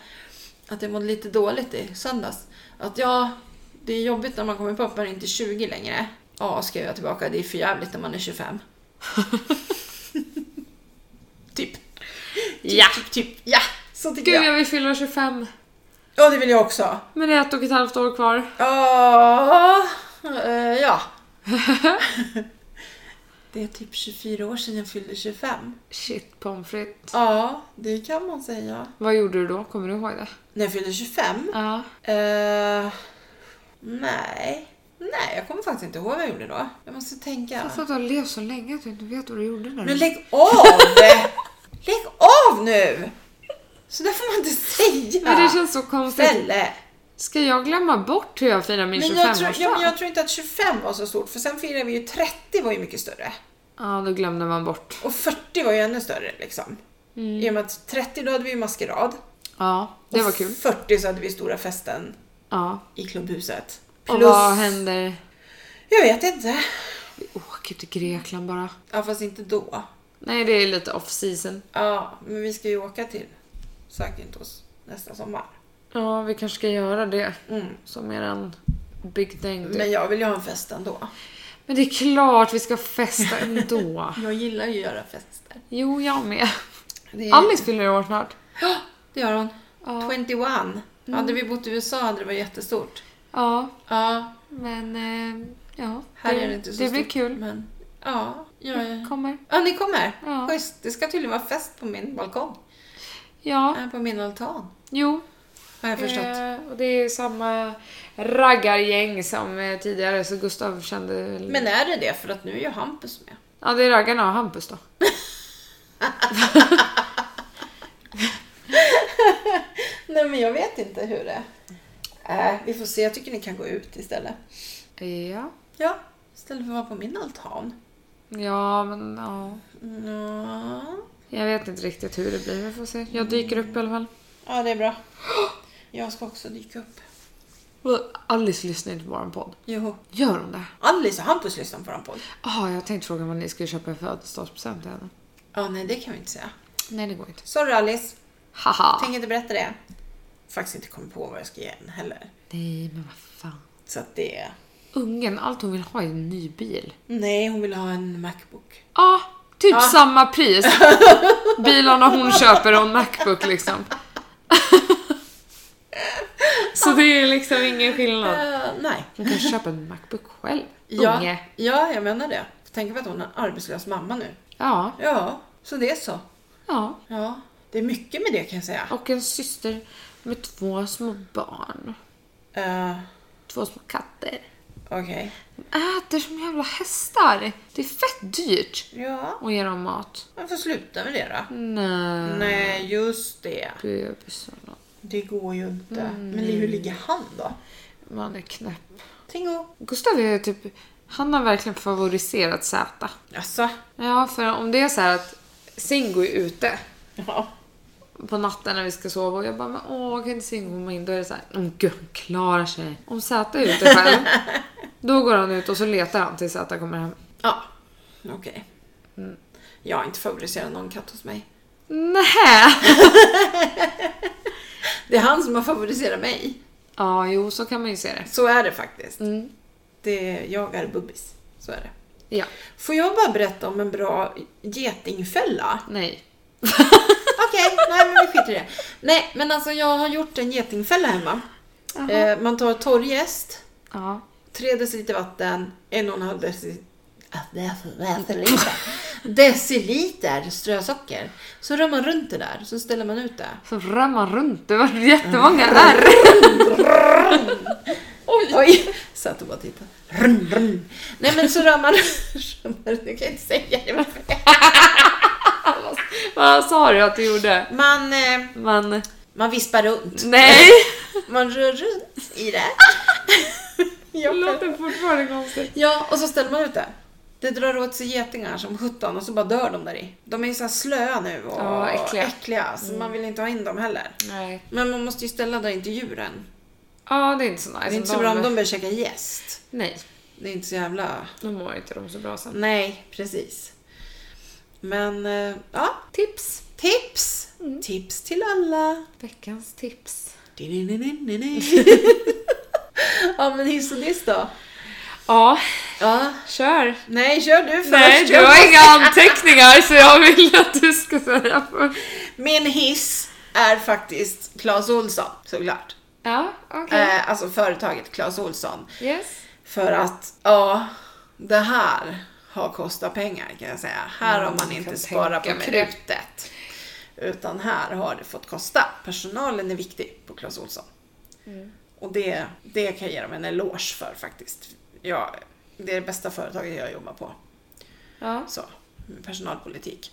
[SPEAKER 2] att jag mådde lite dåligt i söndags. Att ja, det är jobbigt när man kommer på att man inte är 20 längre. Ja, skrev jag tillbaka, det är för jävligt när man är 25. typ.
[SPEAKER 1] Ja.
[SPEAKER 2] Typ, typ, ja. Så tycker
[SPEAKER 1] Gud,
[SPEAKER 2] jag.
[SPEAKER 1] jag vill fylla 25.
[SPEAKER 2] Ja, det vill jag också.
[SPEAKER 1] Men det är ett och ett halvt år kvar.
[SPEAKER 2] Ja, eh, ja. det är typ 24 år sedan jag fyllde 25.
[SPEAKER 1] Shit, pommes frites.
[SPEAKER 2] Ja, det kan man säga.
[SPEAKER 1] Vad gjorde du då? Kommer du ihåg det?
[SPEAKER 2] När jag fyllde 25?
[SPEAKER 1] Ja.
[SPEAKER 2] Eh, nej. Nej, jag kommer faktiskt inte ihåg vad jag gjorde då. Jag måste tänka.
[SPEAKER 1] Alltså att du har levt så länge att du inte vet vad du gjorde när
[SPEAKER 2] Men
[SPEAKER 1] du...
[SPEAKER 2] lägg av! lägg av nu! Så där får man inte säga.
[SPEAKER 1] Men det känns så konstigt.
[SPEAKER 2] Fälle.
[SPEAKER 1] Ska jag glömma bort hur jag firar min
[SPEAKER 2] Men jag, tror,
[SPEAKER 1] 25-årsdag?
[SPEAKER 2] ja, men jag tror inte att 25 var så stort, för sen firade vi ju 30 var ju mycket större.
[SPEAKER 1] Ja, då glömde man bort.
[SPEAKER 2] Och 40 var ju ännu större liksom. I och med att 30 då hade vi ju maskerad.
[SPEAKER 1] Ja, Mm. det
[SPEAKER 2] Och
[SPEAKER 1] var kul.
[SPEAKER 2] 40 så hade vi stora festen
[SPEAKER 1] Ja.
[SPEAKER 2] i klubbhuset.
[SPEAKER 1] Och vad händer
[SPEAKER 2] Jag vet inte.
[SPEAKER 1] Vi åker till Grekland bara.
[SPEAKER 2] Ja, fast inte då.
[SPEAKER 1] Nej, det är lite off season.
[SPEAKER 2] Ja, men vi ska ju åka till Zakynthos nästa sommar.
[SPEAKER 1] Ja, vi kanske ska göra det
[SPEAKER 2] Mm.
[SPEAKER 1] som eran big thing. typ.
[SPEAKER 2] Men jag vill ju ha en fest ändå.
[SPEAKER 1] Men det är klart vi ska festa ändå.
[SPEAKER 2] Jag gillar ju att göra fester.
[SPEAKER 1] Jo, jag med.
[SPEAKER 2] Det är...
[SPEAKER 1] Alice fyller år snart.
[SPEAKER 2] Ja, det gör hon. Mm.
[SPEAKER 1] Ja,
[SPEAKER 2] 21. Hade vi bott i USA hade det varit jättestort.
[SPEAKER 1] ja
[SPEAKER 2] Ja,
[SPEAKER 1] men eh, ja.
[SPEAKER 2] här är det inte så
[SPEAKER 1] Det
[SPEAKER 2] stort.
[SPEAKER 1] blir kul.
[SPEAKER 2] Men... Ja, ja, ja.
[SPEAKER 1] Kommer.
[SPEAKER 2] ja, ni kommer.
[SPEAKER 1] Ja.
[SPEAKER 2] Schysst. Det ska tydligen vara fest på min balkong.
[SPEAKER 1] Ja,
[SPEAKER 2] Här på min altan.
[SPEAKER 1] jo.
[SPEAKER 2] Har jag förstått.
[SPEAKER 1] Eh, och det är samma raggargäng som eh, tidigare, så Gustav kände... väl-
[SPEAKER 2] Men är det det? För att nu är ju Hampus med.
[SPEAKER 1] Ja, det är raggarna och Hampus då.
[SPEAKER 2] Nej, men jag vet inte hur det är. Äh, vi får se. Jag tycker ni kan gå ut istället.
[SPEAKER 1] Ja.
[SPEAKER 2] Ja, istället för att vara på min altan.
[SPEAKER 1] Ja, men ja.
[SPEAKER 2] Ja,
[SPEAKER 1] Jag vet inte riktigt hur det blir, vi får se. Jag dyker upp i alla fall.
[SPEAKER 2] ja det är bra. Jag ska också dyka upp.
[SPEAKER 1] Och Alice lyssnar inte på vår podd.
[SPEAKER 2] Jo.
[SPEAKER 1] Gör hon det?
[SPEAKER 2] Alice och Hampus lyssnar på vår podd.
[SPEAKER 1] Jaha, jag tänkte fråga vad ni skulle köpa i födelsedagspresent till henne.
[SPEAKER 2] Ja, nej det kan vi inte säga.
[SPEAKER 1] Nej, det går inte.
[SPEAKER 2] Sorry Alice,
[SPEAKER 1] Haha!
[SPEAKER 2] tänker inte berätta det. Faktiskt inte kommit på vad jag ska ge henne heller.
[SPEAKER 1] Nej, men vad fan.
[SPEAKER 2] Så att det...
[SPEAKER 1] Ungen, allt hon vill ha är en ny bil.
[SPEAKER 2] Nej, hon vill ha en Macbook.
[SPEAKER 1] Ja, typ samma pris. Bilarna hon köper och en Macbook liksom. Så det är liksom ingen skillnad.
[SPEAKER 2] Eh, nej.
[SPEAKER 1] Hon kan köpa en Macbook själv.
[SPEAKER 2] Ja,
[SPEAKER 1] Unge.
[SPEAKER 2] ja, jag menar det. Tänk på att hon är en arbetslös mamma nu.
[SPEAKER 1] Ja,
[SPEAKER 2] Ja, så det är så.
[SPEAKER 1] ja.
[SPEAKER 2] Ja, det är mycket med det kan jag säga.
[SPEAKER 1] Och en syster med två små barn.
[SPEAKER 2] Eh,
[SPEAKER 1] Två små katter.
[SPEAKER 2] Okej.
[SPEAKER 1] De äter som jävla hästar. Det är fett dyrt
[SPEAKER 2] Ja,
[SPEAKER 1] att ge dem mat.
[SPEAKER 2] varför slutar vi det då? Mm.
[SPEAKER 1] Nej.
[SPEAKER 2] Nej, just det.
[SPEAKER 1] Bebisarna.
[SPEAKER 2] Det går ju inte. Men hur ligger han då?
[SPEAKER 1] Man är knäpp.
[SPEAKER 2] Tingo.
[SPEAKER 1] Gustav är typ... Han har verkligen favoriserat Zäta.
[SPEAKER 2] Jaså?
[SPEAKER 1] Ja, för om det är så här att Singo är ute
[SPEAKER 2] Ja.
[SPEAKER 1] på natten när vi ska sova och jag bara men åh kan inte Singo komma in? Då är det så här, om gud hon klarar sig. Om Zäta är ute själv, då går han ut och så letar han tills Zäta kommer hem.
[SPEAKER 2] Ja, Mm. okej. Jag har inte favoriserat någon katt hos mig.
[SPEAKER 1] Nej.
[SPEAKER 2] Det är han som har favoriserat mig.
[SPEAKER 1] Ja, jo så kan man ju se det.
[SPEAKER 2] Så är det faktiskt.
[SPEAKER 1] Mm.
[SPEAKER 2] Det, jag är bubbis. Så är det.
[SPEAKER 1] Ja,
[SPEAKER 2] Får jag bara berätta om en bra getingfälla?
[SPEAKER 1] nej.
[SPEAKER 2] Okej, nej men vi skiter i det. Nej, men alltså jag har gjort en getingfälla hemma. Eh, man tar torr jäst,
[SPEAKER 1] Ja.
[SPEAKER 2] 3 deciliter vatten, 1,5 deciliter Alltså, deciliter, deciliter strösocker. Så rör man runt det där, så ställer man ut det.
[SPEAKER 1] Så rör man runt, det var jättemånga där.
[SPEAKER 2] Oj! Oj. Satt och bara tittade. Rrrn, rrrn. Nej men så rör man... rör man- Jag kan inte säga det. men-
[SPEAKER 1] Vad sa du att du gjorde?
[SPEAKER 2] Man, eh,
[SPEAKER 1] Man...
[SPEAKER 2] man vispar runt.
[SPEAKER 1] Nej!
[SPEAKER 2] Man rör runt i det.
[SPEAKER 1] Det låter fortfarande konstigt.
[SPEAKER 2] Ja, och så ställer man ut det. Det drar åt sig getingar som sjutton och så bara dör de där i. De är ju så här slöa nu och
[SPEAKER 1] Ja, äckliga. Mm.
[SPEAKER 2] så man vill inte ha in dem heller.
[SPEAKER 1] Nej.
[SPEAKER 2] Men man måste ju ställa där inte djuren.
[SPEAKER 1] Ja, det är inte så nice.
[SPEAKER 2] det är inte så bra om de börjar käka jäst.
[SPEAKER 1] Nej,
[SPEAKER 2] Det är inte så jävla...
[SPEAKER 1] då mår inte de så bra sen.
[SPEAKER 2] Nej, precis. Men, eh, ja.
[SPEAKER 1] Tips!
[SPEAKER 2] Tips!
[SPEAKER 1] Mm.
[SPEAKER 2] Tips till alla!
[SPEAKER 1] Veckans tips.
[SPEAKER 2] ja men hiss och diss då?
[SPEAKER 1] Ja,
[SPEAKER 2] Ja.
[SPEAKER 1] kör!
[SPEAKER 2] Nej, kör du först.
[SPEAKER 1] Nej, du har inga anteckningar så jag vill att du ska säga först.
[SPEAKER 2] Min hiss är faktiskt Clas Ohlson såklart.
[SPEAKER 1] Ja, okej.
[SPEAKER 2] Eh, alltså företaget Clas Ohlson.
[SPEAKER 1] Yes.
[SPEAKER 2] För att, ja, det här har kostat pengar kan jag säga. Här har man
[SPEAKER 1] Mm, jag
[SPEAKER 2] inte
[SPEAKER 1] kan
[SPEAKER 2] sparat på
[SPEAKER 1] tänka mig det.
[SPEAKER 2] krutet. Utan här har det fått kosta. Personalen är viktig på Clas Ohlson.
[SPEAKER 1] Mm.
[SPEAKER 2] Och det, det kan jag ge dem en eloge för faktiskt. Ja, det är det bästa företaget jag jobbar på.
[SPEAKER 1] Ja.
[SPEAKER 2] Så, med personalpolitik.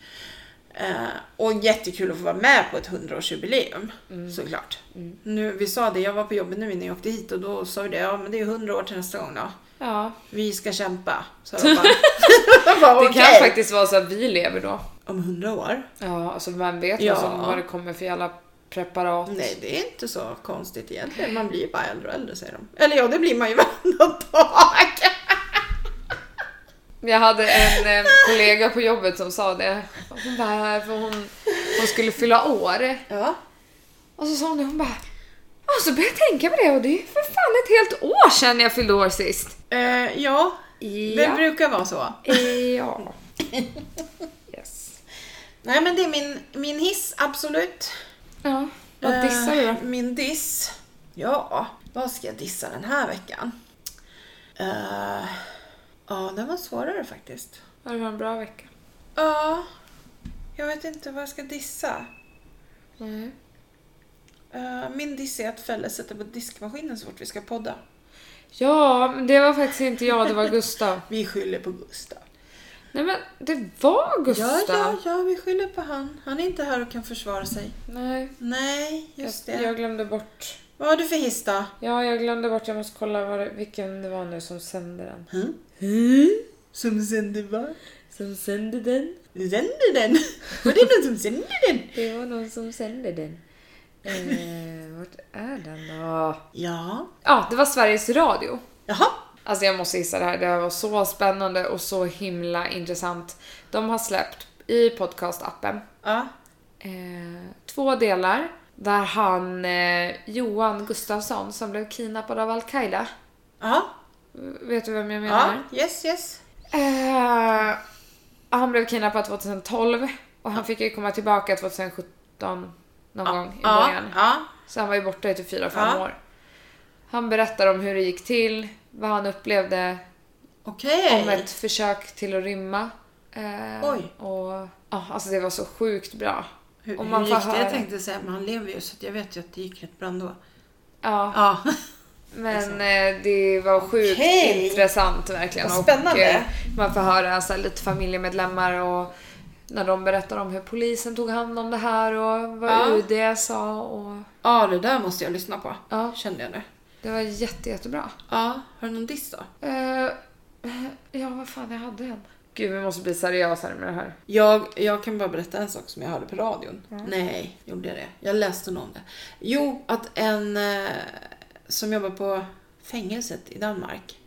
[SPEAKER 2] Eh, och jättekul att få vara med på ett 100-årsjubileum
[SPEAKER 1] Mm.
[SPEAKER 2] såklart. Nu, vi sa det, jag var på jobbet nu innan jag åkte hit och då sa vi det, ja men det är 100 år till nästa gång då.
[SPEAKER 1] ja.
[SPEAKER 2] Vi ska kämpa. Så jag bara, jag bara
[SPEAKER 1] Det
[SPEAKER 2] okej.
[SPEAKER 1] kan faktiskt vara så att vi lever då.
[SPEAKER 2] Om 100 år?
[SPEAKER 1] Ja, alltså vem vet
[SPEAKER 2] Ja.
[SPEAKER 1] vad som vad det kommer för jävla preparat.
[SPEAKER 2] Nej, det är inte så konstigt egentligen. Man blir ju bara äldre och äldre säger de. Eller ja, det blir man ju varenda dag.
[SPEAKER 1] Jag hade en eh, kollega på jobbet som sa det. Hon bara, för hon, hon skulle fylla år.
[SPEAKER 2] Ja.
[SPEAKER 1] Och så sa hon det, hon bara och så började jag tänka på det och det är för fan ett helt år sedan jag fyllde år sist.
[SPEAKER 2] Eh, ja, det
[SPEAKER 1] Ja.
[SPEAKER 2] brukar vara så.
[SPEAKER 1] ja. Yes.
[SPEAKER 2] Nej men det är min, min hiss, absolut.
[SPEAKER 1] Ja. Vad dissar du då?
[SPEAKER 2] Eh, Min diss? Ja, vad ska jag dissa den här veckan? Eh, ja, den var svårare faktiskt.
[SPEAKER 1] Har det varit en bra vecka?
[SPEAKER 2] Ja, jag vet inte vad jag ska dissa.
[SPEAKER 1] Nej.
[SPEAKER 2] Eh, min diss är att Felle sätter på diskmaskinen så fort vi ska podda.
[SPEAKER 1] Ja, men det var faktiskt inte jag, det var Gustav.
[SPEAKER 2] Vi skyller på Gustav.
[SPEAKER 1] Nej men det var Gustav.
[SPEAKER 2] Ja, ja, ja, vi skyller på han. Han är inte här och kan försvara sig.
[SPEAKER 1] Nej,
[SPEAKER 2] Nej, just
[SPEAKER 1] jag,
[SPEAKER 2] det.
[SPEAKER 1] jag glömde bort.
[SPEAKER 2] Vad har du för hiss då?
[SPEAKER 1] Ja, jag glömde bort. Jag måste kolla vad det, vilken det var nu som sände den.
[SPEAKER 2] Som sänder vad?
[SPEAKER 1] Som sände den?
[SPEAKER 2] Sänder den? Var det någon som sänder den?
[SPEAKER 1] Det var någon som sände den. Eh, vart är den då?
[SPEAKER 2] Ja.
[SPEAKER 1] Ja, det var Sveriges Radio.
[SPEAKER 2] Jaha.
[SPEAKER 1] Alltså jag måste gissa det här. Det här var så spännande och så himla intressant. De har släppt i podcastappen
[SPEAKER 2] Ja.
[SPEAKER 1] eh, två delar där han eh, Johan Gustafsson som blev kidnappad av Al-Qaida.
[SPEAKER 2] Ja.
[SPEAKER 1] Vet du vem jag menar?
[SPEAKER 2] Ja. Yes, yes.
[SPEAKER 1] Eh, han blev kidnappad 2012 och han fick ju komma tillbaka 2017 någon gång i
[SPEAKER 2] Ja.
[SPEAKER 1] början.
[SPEAKER 2] Ja.
[SPEAKER 1] Så han var ju borta i typ 4-5
[SPEAKER 2] Ja.
[SPEAKER 1] år. Han berättar om hur det gick till, vad han upplevde
[SPEAKER 2] Okej.
[SPEAKER 1] om ett försök till att rymma. Eh,
[SPEAKER 2] Oj.
[SPEAKER 1] Och, ja, alltså det var så sjukt bra.
[SPEAKER 2] Hur,
[SPEAKER 1] om man
[SPEAKER 2] hur
[SPEAKER 1] får
[SPEAKER 2] gick det?
[SPEAKER 1] höra.
[SPEAKER 2] Jag tänkte säga, men han lever ju så att jag vet ju att det gick rätt bra ändå.
[SPEAKER 1] Ja,
[SPEAKER 2] Ja.
[SPEAKER 1] men eh, det var sjukt
[SPEAKER 2] Okej.
[SPEAKER 1] intressant verkligen.
[SPEAKER 2] Vad spännande.
[SPEAKER 1] Och, eh, man får höra så här, lite familjemedlemmar och när de berättar om hur polisen tog hand om det här och vad
[SPEAKER 2] Ja.
[SPEAKER 1] UD sa. Och,
[SPEAKER 2] Ja, det där måste jag lyssna på.
[SPEAKER 1] ja,
[SPEAKER 2] Kände jag nu.
[SPEAKER 1] det var jätte, jättebra.
[SPEAKER 2] Ja. Har du någon diss då?
[SPEAKER 1] Eh, ja, vad fan, jag hade en. Gud, vi måste bli seriösare med det här.
[SPEAKER 2] Jag, jag kan bara berätta en sak som jag hörde på radion. Nej, gjorde jag det? Jag läste nog om det. Jo, att en eh, som jobbar på fängelset i Danmark.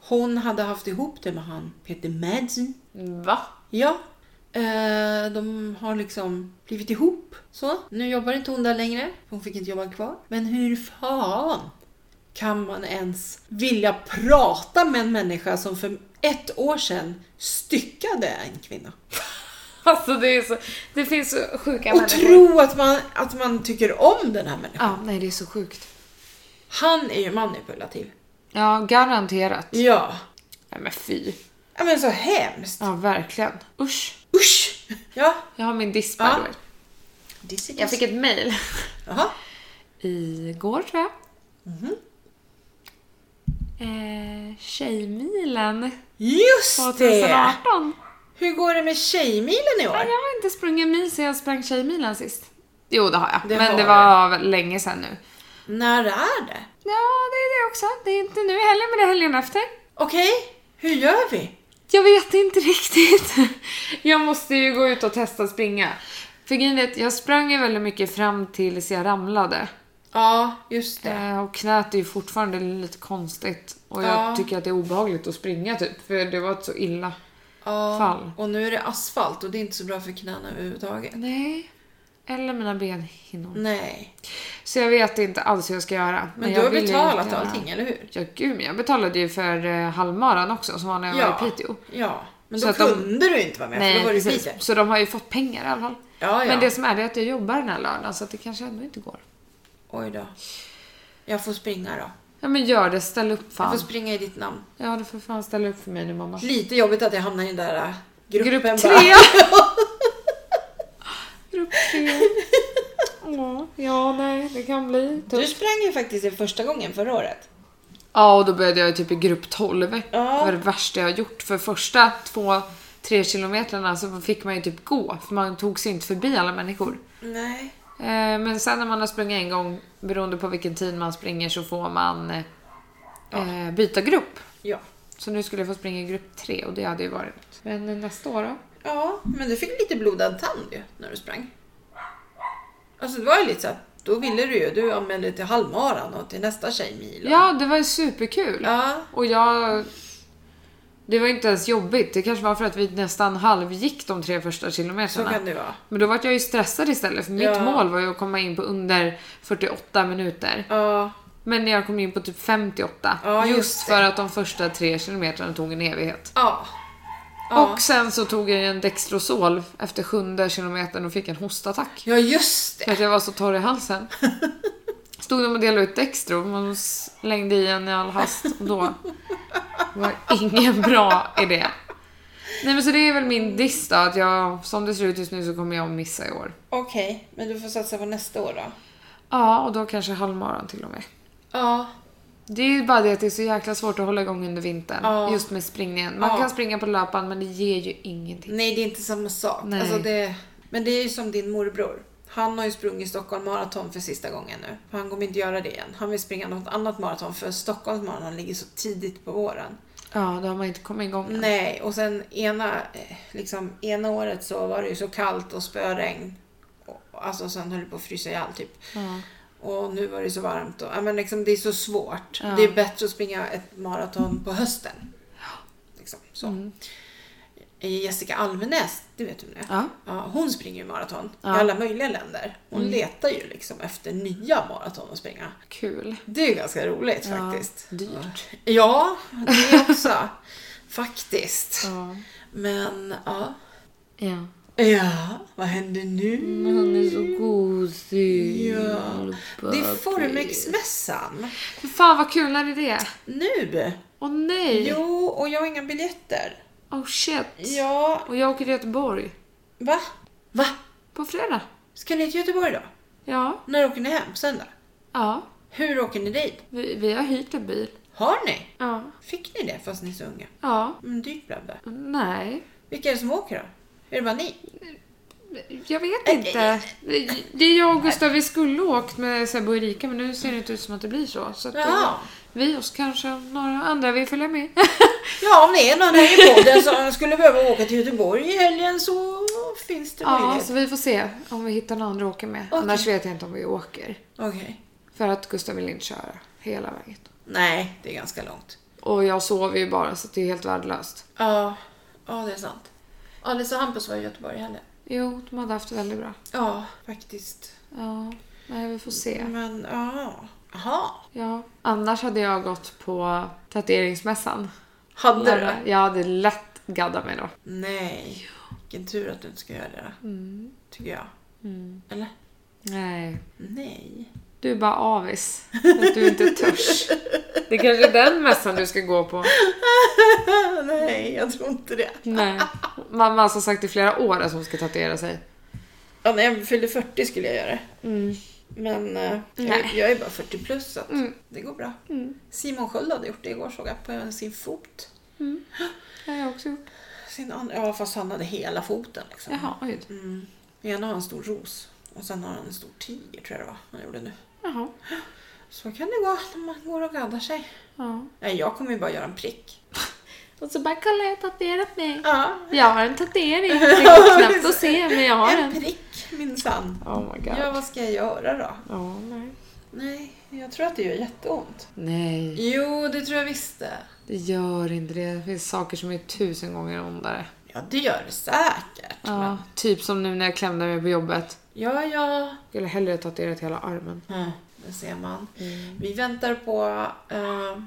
[SPEAKER 2] Hon hade haft ihop det med han Peter Madsen.
[SPEAKER 1] Va?
[SPEAKER 2] Ja. Eh, de har liksom blivit ihop. Så, nu jobbar inte hon där längre. Hon fick inte jobba kvar. Men hur fan kan man ens vilja prata med en människa som för ett år sedan styckade en kvinna?
[SPEAKER 1] Alltså det är så... Det finns så sjuka
[SPEAKER 2] Och tro att man, att man tycker om den här människan.
[SPEAKER 1] Ja, nej det är så sjukt.
[SPEAKER 2] Han är ju manipulativ.
[SPEAKER 1] Ja, garanterat.
[SPEAKER 2] Ja.
[SPEAKER 1] Nej men fy.
[SPEAKER 2] Ja men så hemskt.
[SPEAKER 1] Ja, verkligen. Usch.
[SPEAKER 2] Usch! Ja.
[SPEAKER 1] Jag har min diss by
[SPEAKER 2] Ja.
[SPEAKER 1] the way. Jag
[SPEAKER 2] Jag
[SPEAKER 1] fick ett mail
[SPEAKER 2] Jaha.
[SPEAKER 1] igår tror jag. Eh, Tjejmilen
[SPEAKER 2] Just det!
[SPEAKER 1] 2018.
[SPEAKER 2] Hur går det med Tjejmilen i
[SPEAKER 1] Nej,
[SPEAKER 2] år?
[SPEAKER 1] jag har inte sprungit mil sen jag sprang Tjejmilen sist. Jo, det har jag.
[SPEAKER 2] Det
[SPEAKER 1] men
[SPEAKER 2] har
[SPEAKER 1] det
[SPEAKER 2] du.
[SPEAKER 1] var väl länge sedan nu.
[SPEAKER 2] När är det?
[SPEAKER 1] Ja, det är det också. Det är inte nu heller, men det är helgen efter.
[SPEAKER 2] Okej, hur gör vi?
[SPEAKER 1] Jag vet inte riktigt. Jag måste ju gå ut och testa springa. För grejen är att jag sprang ju väldigt mycket fram tills jag ramlade.
[SPEAKER 2] Ja, just det.
[SPEAKER 1] Eh, Och knät är ju fortfarande lite konstigt. Och
[SPEAKER 2] Ja.
[SPEAKER 1] jag tycker att det är obehagligt att springa typ. För det var ett så illa.
[SPEAKER 2] Ja.
[SPEAKER 1] Fall. Mm.
[SPEAKER 2] Och nu är det asfalt och det är inte så bra för knäna överhuvudtaget.
[SPEAKER 1] Nej. Eller mina benhinnor.
[SPEAKER 2] Nej.
[SPEAKER 1] Så jag vet inte alls hur jag ska göra.
[SPEAKER 2] Men, du
[SPEAKER 1] jag
[SPEAKER 2] har
[SPEAKER 1] vill ju
[SPEAKER 2] betalat
[SPEAKER 1] jättegärna-
[SPEAKER 2] allting, eller hur?
[SPEAKER 1] Ja gud, men jag betalade ju för eh, halvmaran också som var när jag var i Piteå.
[SPEAKER 2] Ja. Men
[SPEAKER 1] Så
[SPEAKER 2] då
[SPEAKER 1] att de-
[SPEAKER 2] kunde du inte vara med för då var du i
[SPEAKER 1] precis.
[SPEAKER 2] Piteå.
[SPEAKER 1] Så de har ju fått pengar i alla fall.
[SPEAKER 2] Ja, ja.
[SPEAKER 1] Men det som är det är att jag jobbar den här lördagen så att det kanske ändå inte går.
[SPEAKER 2] Oj då. Jag får springa då.
[SPEAKER 1] Ja men gör det, ställ upp
[SPEAKER 2] Jag
[SPEAKER 1] fan.
[SPEAKER 2] får springa i ditt namn.
[SPEAKER 1] Ja du får fan ställa upp för mig nu mamma.
[SPEAKER 2] Lite jobbigt att jag hamnar i den där äh, gruppen.
[SPEAKER 1] Grupp
[SPEAKER 2] bara.
[SPEAKER 1] tre! Grupp tre. Ja, ja, nej, det kan bli
[SPEAKER 2] Du
[SPEAKER 1] tufft.
[SPEAKER 2] sprang ju faktiskt i första gången förra året.
[SPEAKER 1] Ja, och då började jag ju typ i grupp 12.
[SPEAKER 2] Ja.
[SPEAKER 1] Det var det värsta jag har gjort. För första två, tre kilometrarna så fick man ju typ gå, för man tog sig inte förbi alla människor.
[SPEAKER 2] Nej.
[SPEAKER 1] Eh, Men sen när man har sprungit en gång, beroende på vilken tid man springer, så får man eh, eh, byta grupp.
[SPEAKER 2] Ja.
[SPEAKER 1] Så nu skulle jag få springa i grupp 3 och det hade ju varit något. Men eh, nästa år då?
[SPEAKER 2] Ja, men du fick lite blodad tand ju när du sprang. Alltså det var ju lite så här, då ville du ju. Du anmälde dig till halvmaran och till nästa tjejmil. och-
[SPEAKER 1] Ja, det var ju superkul.
[SPEAKER 2] Ja.
[SPEAKER 1] Och jag... Det var inte ens jobbigt. Det kanske var för att vi nästan halvgick de tre första
[SPEAKER 2] Så
[SPEAKER 1] kilometrarna.
[SPEAKER 2] kan det vara.
[SPEAKER 1] Men då var jag ju stressad istället för mitt
[SPEAKER 2] Ja.
[SPEAKER 1] mål var ju att komma in på under 48 minuter.
[SPEAKER 2] Ja,
[SPEAKER 1] Men jag kom in på typ 58.
[SPEAKER 2] Ja,
[SPEAKER 1] just
[SPEAKER 2] just det.
[SPEAKER 1] för att de första tre kilometrarna tog en evighet.
[SPEAKER 2] ja. Ja.
[SPEAKER 1] Och sen så tog jag en Dextrosol efter sjunde kilometern och fick en hostattack.
[SPEAKER 2] ja, just det.
[SPEAKER 1] För att jag var så torr i halsen. Stod de och delade ut Dextro, man slängde i en i all hast och då var ingen bra idé. Nej men så det är väl min diss då, att jag, som det ser ut just nu så kommer jag att missa i år.
[SPEAKER 2] Okej, men du får satsa på nästa år då.
[SPEAKER 1] Ja, och då kanske halvmaran till och med.
[SPEAKER 2] Ja.
[SPEAKER 1] Det är ju bara det att det är så jäkla svårt att hålla igång under vintern.
[SPEAKER 2] Ja.
[SPEAKER 1] Just med springningen. Man
[SPEAKER 2] Ja.
[SPEAKER 1] kan springa på löpan men det ger ju ingenting.
[SPEAKER 2] Nej, det är inte samma sak.
[SPEAKER 1] Nej.
[SPEAKER 2] Alltså det, men det är ju som din morbror. Han har ju sprungit Stockholm maraton för sista gången nu. Han kommer inte göra det igen. Han vill springa något annat maraton för Stockholms maraton ligger så tidigt på våren.
[SPEAKER 1] Ja, då har man inte kommit igång än.
[SPEAKER 2] Nej, och sen ena, eh, liksom, ena året så var det ju så kallt och spöregn. Och- Alltså sen höll det på att frysa ihjäl typ.
[SPEAKER 1] Ja.
[SPEAKER 2] Och nu var det ju så varmt. Och, ja, men liksom, det är så svårt.
[SPEAKER 1] Ja.
[SPEAKER 2] Det är bättre att springa ett maraton på hösten. Liksom, så.
[SPEAKER 1] Mm.
[SPEAKER 2] Eh, Jessica Almenäs, det vet du nu.
[SPEAKER 1] Ja.
[SPEAKER 2] Ja, hon springer ju maraton
[SPEAKER 1] Ja. Mm.
[SPEAKER 2] i alla möjliga länder. Hon letar ju liksom efter nya maraton att springa.
[SPEAKER 1] Kul.
[SPEAKER 2] Det är ju ganska roligt
[SPEAKER 1] Ja,
[SPEAKER 2] faktiskt.
[SPEAKER 1] dyrt.
[SPEAKER 2] Ja, det också. faktiskt.
[SPEAKER 1] Ja.
[SPEAKER 2] Men ja.
[SPEAKER 1] ja.
[SPEAKER 2] Ja, vad händer nu?
[SPEAKER 1] Han är så gosig.
[SPEAKER 2] Ja. Det är Formex-mässan.
[SPEAKER 1] Fan vad kul, när är det?
[SPEAKER 2] Nu!
[SPEAKER 1] Åh nej!
[SPEAKER 2] Jo, och jag har inga biljetter.
[SPEAKER 1] Oh shit.
[SPEAKER 2] Ja,
[SPEAKER 1] Och jag åker till Göteborg.
[SPEAKER 2] va? Va?
[SPEAKER 1] På fredag.
[SPEAKER 2] Ska ni till Göteborg då?
[SPEAKER 1] Ja.
[SPEAKER 2] När åker ni hem? Söndag?
[SPEAKER 1] Ja.
[SPEAKER 2] Hur åker ni dit?
[SPEAKER 1] Vi, vi har hyrt en bil.
[SPEAKER 2] Har ni?
[SPEAKER 1] Ja.
[SPEAKER 2] Fick ni det fast ni är så unga?
[SPEAKER 1] Ja.
[SPEAKER 2] Men dyrt blev det.
[SPEAKER 1] Nej.
[SPEAKER 2] Vilka är det som åker då? Är det bara ni?
[SPEAKER 1] Jag vet inte. Det är jag och Gustav, vi skulle ha åkt med Sebbe och Erika men nu ser det inte ut som att det blir så. så att det,
[SPEAKER 2] Jaha.
[SPEAKER 1] vi och kanske några andra vill följa med.
[SPEAKER 2] Ja, om det är någon här i podden som skulle behöva åka till Göteborg i helgen så finns det
[SPEAKER 1] Ja,
[SPEAKER 2] möjlighet.
[SPEAKER 1] så vi får se om vi hittar några andra att åka med.
[SPEAKER 2] Okej.
[SPEAKER 1] Annars vet jag inte om vi åker.
[SPEAKER 2] Okej.
[SPEAKER 1] För att Gustav vill inte köra hela vägen.
[SPEAKER 2] Nej, det är ganska långt.
[SPEAKER 1] Och jag sover ju bara så det är helt värdelöst.
[SPEAKER 2] Ja, ja det är sant. Alice och Hampus var i Göteborg i helgen.
[SPEAKER 1] Jo, de hade haft det väldigt bra.
[SPEAKER 2] Ja, faktiskt.
[SPEAKER 1] Ja, nej vi får se.
[SPEAKER 2] Men ja. Jaha.
[SPEAKER 1] Ja. Annars hade jag gått på tatueringsmässan.
[SPEAKER 2] Hade du?
[SPEAKER 1] Jag hade lätt gaddat mig då.
[SPEAKER 2] Nej. Vilken tur att du inte ska göra det då. Tycker jag. Eller?
[SPEAKER 1] Nej.
[SPEAKER 2] Nej.
[SPEAKER 1] Du är bara avis. Att du inte törs. Det är kanske är den mässan du ska gå på.
[SPEAKER 2] Nej, jag tror inte det.
[SPEAKER 1] Nej. Mamma har alltså sagt i flera år att hon ska tatuera sig.
[SPEAKER 2] Ja, när jag fyllde 40 skulle jag göra det.
[SPEAKER 1] Mm.
[SPEAKER 2] Men eh, jag,
[SPEAKER 1] Nej.
[SPEAKER 2] är- jag är bara 40 plus så att
[SPEAKER 1] Mm.
[SPEAKER 2] det går bra. Simon Sköld hade gjort det igår såg jag på sin fot.
[SPEAKER 1] Det har jag också gjort.
[SPEAKER 2] Sin andra, ja fast han hade hela foten liksom.
[SPEAKER 1] Jaha, oj.
[SPEAKER 2] Mm. Ena har en stor ros och sen har han en stor tiger tror jag det var han gjorde nu.
[SPEAKER 1] Jaha.
[SPEAKER 2] Så kan det gå när man går och gaddar sig.
[SPEAKER 1] Ja.
[SPEAKER 2] Nej, jag kommer ju bara göra en prick.
[SPEAKER 1] Och så bara kolla jag har tatuerat mig.
[SPEAKER 2] Ja,
[SPEAKER 1] Jag har en tatuering. Det går knappt att se men jag har
[SPEAKER 2] en
[SPEAKER 1] en.
[SPEAKER 2] prick minsann.
[SPEAKER 1] Oh my god.
[SPEAKER 2] Ja, vad ska jag göra då?
[SPEAKER 1] Ja, nej.
[SPEAKER 2] Nej, jag tror att det gör jätteont.
[SPEAKER 1] Nej,
[SPEAKER 2] Jo, det tror jag visst det.
[SPEAKER 1] det gör inte det. Det finns saker som är tusen gånger ondare.
[SPEAKER 2] Ja, det gör det säkert.
[SPEAKER 1] Ja, typ som nu när jag klämde mig på jobbet.
[SPEAKER 2] Ja, ja. Hm,
[SPEAKER 1] Jag skulle hellre tatuerat hela armen.
[SPEAKER 2] Det ser man.
[SPEAKER 1] Mm.
[SPEAKER 2] Vi väntar på... eh,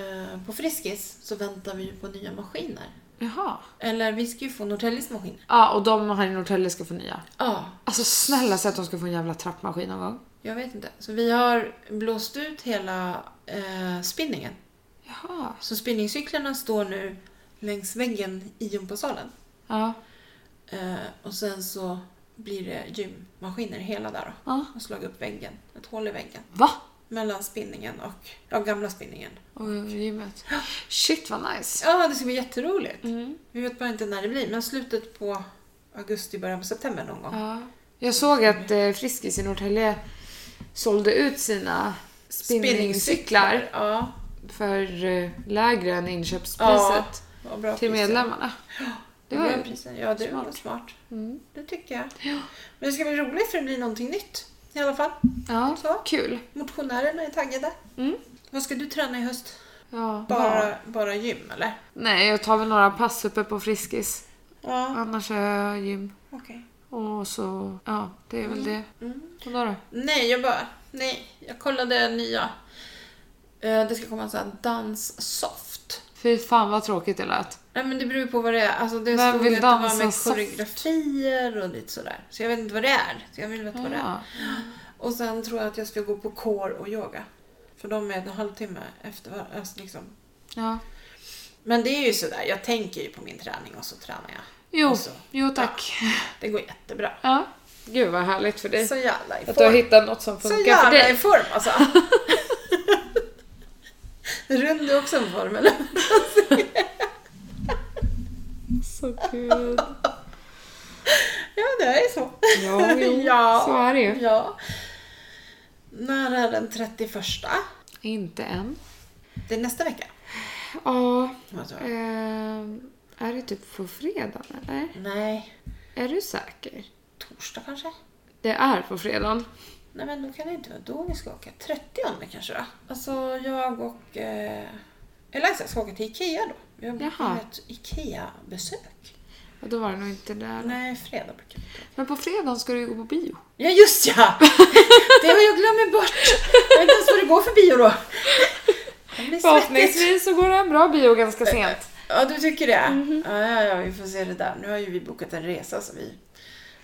[SPEAKER 2] eh, på Friskis så väntar vi ju på nya maskiner.
[SPEAKER 1] Jaha.
[SPEAKER 2] Eller vi ska ju få Norrtäljes maskiner.
[SPEAKER 1] Ja, och de här i Norrtälje ska få nya.
[SPEAKER 2] Ja,
[SPEAKER 1] Alltså snälla säg att de ska få en jävla trappmaskin någon gång.
[SPEAKER 2] jag vet inte. Så vi har blåst ut hela eh, spinningen.
[SPEAKER 1] Jaha.
[SPEAKER 2] Så spinningcyklarna står nu längs väggen i gympasalen.
[SPEAKER 1] Ja.
[SPEAKER 2] Eh, och sen så blir det gymmaskiner hela där då.
[SPEAKER 1] Ja.
[SPEAKER 2] Och slagit upp väggen. Ett hål i väggen.
[SPEAKER 1] Va?
[SPEAKER 2] Mellan spinningen och... Ja, gamla spinningen.
[SPEAKER 1] Och gymmet. Shit vad nice.
[SPEAKER 2] Ja, det ska bli jätteroligt.
[SPEAKER 1] Mm.
[SPEAKER 2] Vi vet bara inte när det blir, men slutet på augusti, början på september någon gång.
[SPEAKER 1] Ja. Jag såg att eh, Friskis i Norrtälje sålde ut sina spinningcyklar
[SPEAKER 2] Ja,
[SPEAKER 1] för eh, lägre än inköpspriset.
[SPEAKER 2] Ja. vad bra
[SPEAKER 1] Till
[SPEAKER 2] priser.
[SPEAKER 1] medlemmarna. Det var
[SPEAKER 2] Bra
[SPEAKER 1] ju...
[SPEAKER 2] priser. Ja, det var
[SPEAKER 1] smart.
[SPEAKER 2] smart.
[SPEAKER 1] Mm.
[SPEAKER 2] Det tycker jag. Men det ska bli roligt för det blir någonting nytt i alla fall.
[SPEAKER 1] Ja,
[SPEAKER 2] Så.
[SPEAKER 1] kul.
[SPEAKER 2] Motionärerna är taggade.
[SPEAKER 1] Mm.
[SPEAKER 2] Vad ska du träna i höst?
[SPEAKER 1] Ja,
[SPEAKER 2] Bara,
[SPEAKER 1] ja.
[SPEAKER 2] bara gym eller?
[SPEAKER 1] Nej, jag tar väl några pass uppe på Friskis.
[SPEAKER 2] Ja,
[SPEAKER 1] Annars är jag gym.
[SPEAKER 2] okej.
[SPEAKER 1] Och så, ja, det är väl det.
[SPEAKER 2] Mm.
[SPEAKER 1] Och då då?
[SPEAKER 2] Nej, jag bara, nej. Jag kollade nya. Eh, Det ska komma en sån här danssoft.
[SPEAKER 1] Fy fan vad tråkigt det lät.
[SPEAKER 2] Nej men det beror ju på vad det är. Alltså, det
[SPEAKER 1] Vem
[SPEAKER 2] stod
[SPEAKER 1] vill
[SPEAKER 2] att det var
[SPEAKER 1] dansa
[SPEAKER 2] med
[SPEAKER 1] soft?
[SPEAKER 2] koreografier och lite sådär. Så jag vet inte vad det är. Så jag vill veta vad det är.
[SPEAKER 1] Ja.
[SPEAKER 2] Och sen tror jag att jag ska gå på core och yoga. För de är en halvtimme efter var- alltså, liksom.
[SPEAKER 1] ja.
[SPEAKER 2] Men det är ju sådär, jag tänker ju på min träning och så tränar jag.
[SPEAKER 1] Jo,
[SPEAKER 2] Och så.
[SPEAKER 1] jo tack.
[SPEAKER 2] Det går jättebra.
[SPEAKER 1] Ja. Gud vad härligt för dig.
[SPEAKER 2] Så jävla i
[SPEAKER 1] Att du har
[SPEAKER 2] form.
[SPEAKER 1] hittat något som
[SPEAKER 2] Så
[SPEAKER 1] funkar för
[SPEAKER 2] jävla i
[SPEAKER 1] dig.
[SPEAKER 2] form alltså. Rund är också en form eller?
[SPEAKER 1] Så gud.
[SPEAKER 2] Ja det är så.
[SPEAKER 1] Ja, jo,
[SPEAKER 2] Ja.
[SPEAKER 1] så är det ju.
[SPEAKER 2] Ja. När är den 31?
[SPEAKER 1] Inte än.
[SPEAKER 2] Det är nästa vecka.
[SPEAKER 1] Ja,
[SPEAKER 2] Alltså.
[SPEAKER 1] Mm. ehm, är det typ på fredag eller?
[SPEAKER 2] Nej,
[SPEAKER 1] Är du säker?
[SPEAKER 2] torsdag kanske?
[SPEAKER 1] Det är på fredag.
[SPEAKER 2] Nej men då kan det inte vara då vi ska åka. 30 kanske då? Alltså jag och eh, Eliza ska åka till Ikea då. Vi har bokat
[SPEAKER 1] Jaha.
[SPEAKER 2] ett Ikea-besök.
[SPEAKER 1] Ja, då var det nog inte där.
[SPEAKER 2] Nej, fredag brukar vi åka.
[SPEAKER 1] Men på fredag ska du ju gå på bio.
[SPEAKER 2] Ja just ja! Det har jag glömt bort. Jag vet inte ens vad det går för bio då. Det blir svettigt.
[SPEAKER 1] Förhoppningsvis så går det en bra bio ganska sent.
[SPEAKER 2] Ja du tycker det?
[SPEAKER 1] Mhm.
[SPEAKER 2] Ja, ja, ja vi får se det där. Nu har ju vi bokat en resa så vi...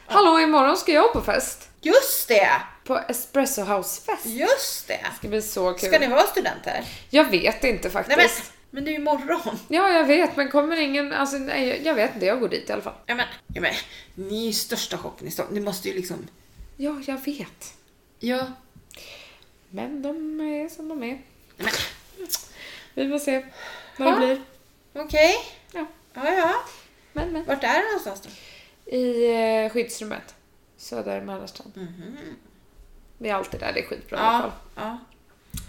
[SPEAKER 1] Hallå, imorgon ska jag på fest.
[SPEAKER 2] Just det!
[SPEAKER 1] På Espresso House-fest.
[SPEAKER 2] Just det!
[SPEAKER 1] Det ska bli så kul.
[SPEAKER 2] Ska ni vara studenter?
[SPEAKER 1] Jag vet inte
[SPEAKER 2] Nej
[SPEAKER 1] faktiskt.
[SPEAKER 2] men, men det är ju imorgon.
[SPEAKER 1] Ja, jag vet, men kommer ingen... Alltså, nej, jag- jag vet inte, jag går dit i alla fall.
[SPEAKER 2] Ja men, ja, men ni är ju största shoppen i Stockholm. Ni måste ju liksom...
[SPEAKER 1] Ja, jag vet.
[SPEAKER 2] Ja.
[SPEAKER 1] Men de är som de är.
[SPEAKER 2] Nej,
[SPEAKER 1] Vi får se vad det
[SPEAKER 2] Ja.
[SPEAKER 1] blir.
[SPEAKER 2] men, okej.
[SPEAKER 1] Ja.
[SPEAKER 2] Ja, ja.
[SPEAKER 1] Men, men.
[SPEAKER 2] Vart är det någonstans då?
[SPEAKER 1] I eh, skyddsrummet. Söder Mälarstrand. Vi är alltid där, det är skitbra i alla fall.
[SPEAKER 2] Mhm. ja.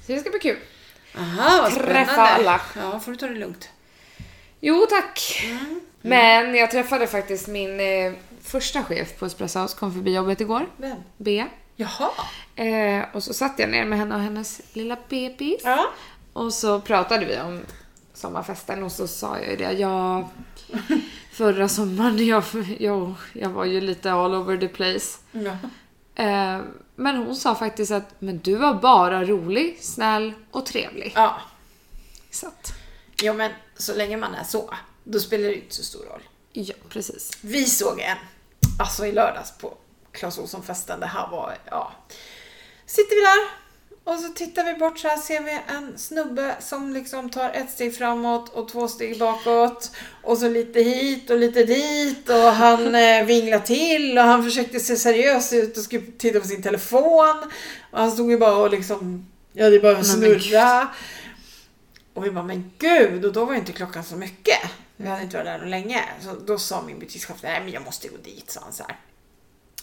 [SPEAKER 1] Så det ska bli kul.
[SPEAKER 2] Aha, vad
[SPEAKER 1] Träffa
[SPEAKER 2] spännande.
[SPEAKER 1] alla.
[SPEAKER 2] Ja, får du ta det lugnt.
[SPEAKER 1] Jo tack!
[SPEAKER 2] Mm.
[SPEAKER 1] Men jag träffade faktiskt min eh, första chef på Espresso House, kom förbi jobbet igår.
[SPEAKER 2] Vem?
[SPEAKER 1] B.
[SPEAKER 2] Jaha.
[SPEAKER 1] Eh, och så satt jag ner med henne och hennes lilla bebis.
[SPEAKER 2] Ja.
[SPEAKER 1] Och så pratade vi om sommarfesten och så sa jag ju det. Jag, förra sommaren, jag, jag, jag var ju lite all over the place.
[SPEAKER 2] ja.
[SPEAKER 1] Eh, men hon sa faktiskt att men du var bara rolig, snäll och trevlig.
[SPEAKER 2] Ja.
[SPEAKER 1] Så att,
[SPEAKER 2] Jo men, så länge man är så, då spelar det ju inte så stor roll.
[SPEAKER 1] ja, precis.
[SPEAKER 2] Vi såg en, alltså i lördags på Clas Ohlson-festen. Det här var, ja. Sitter vi där och så tittar vi bort så här ser vi en snubbe som liksom tar ett steg framåt och två steg bakåt. Och så lite hit och lite dit och han eh, vinglar till och han försökte se seriös ut och skulle titta på sin telefon. Och han stod ju bara och liksom, ja det är bara att
[SPEAKER 1] Nej, men
[SPEAKER 2] snurra. Och vi bara, men gud, och då var ju inte klockan så mycket. Vi hade inte varit där så länge. Så då sa min butikschef, nej men jag måste gå dit, sa han så här.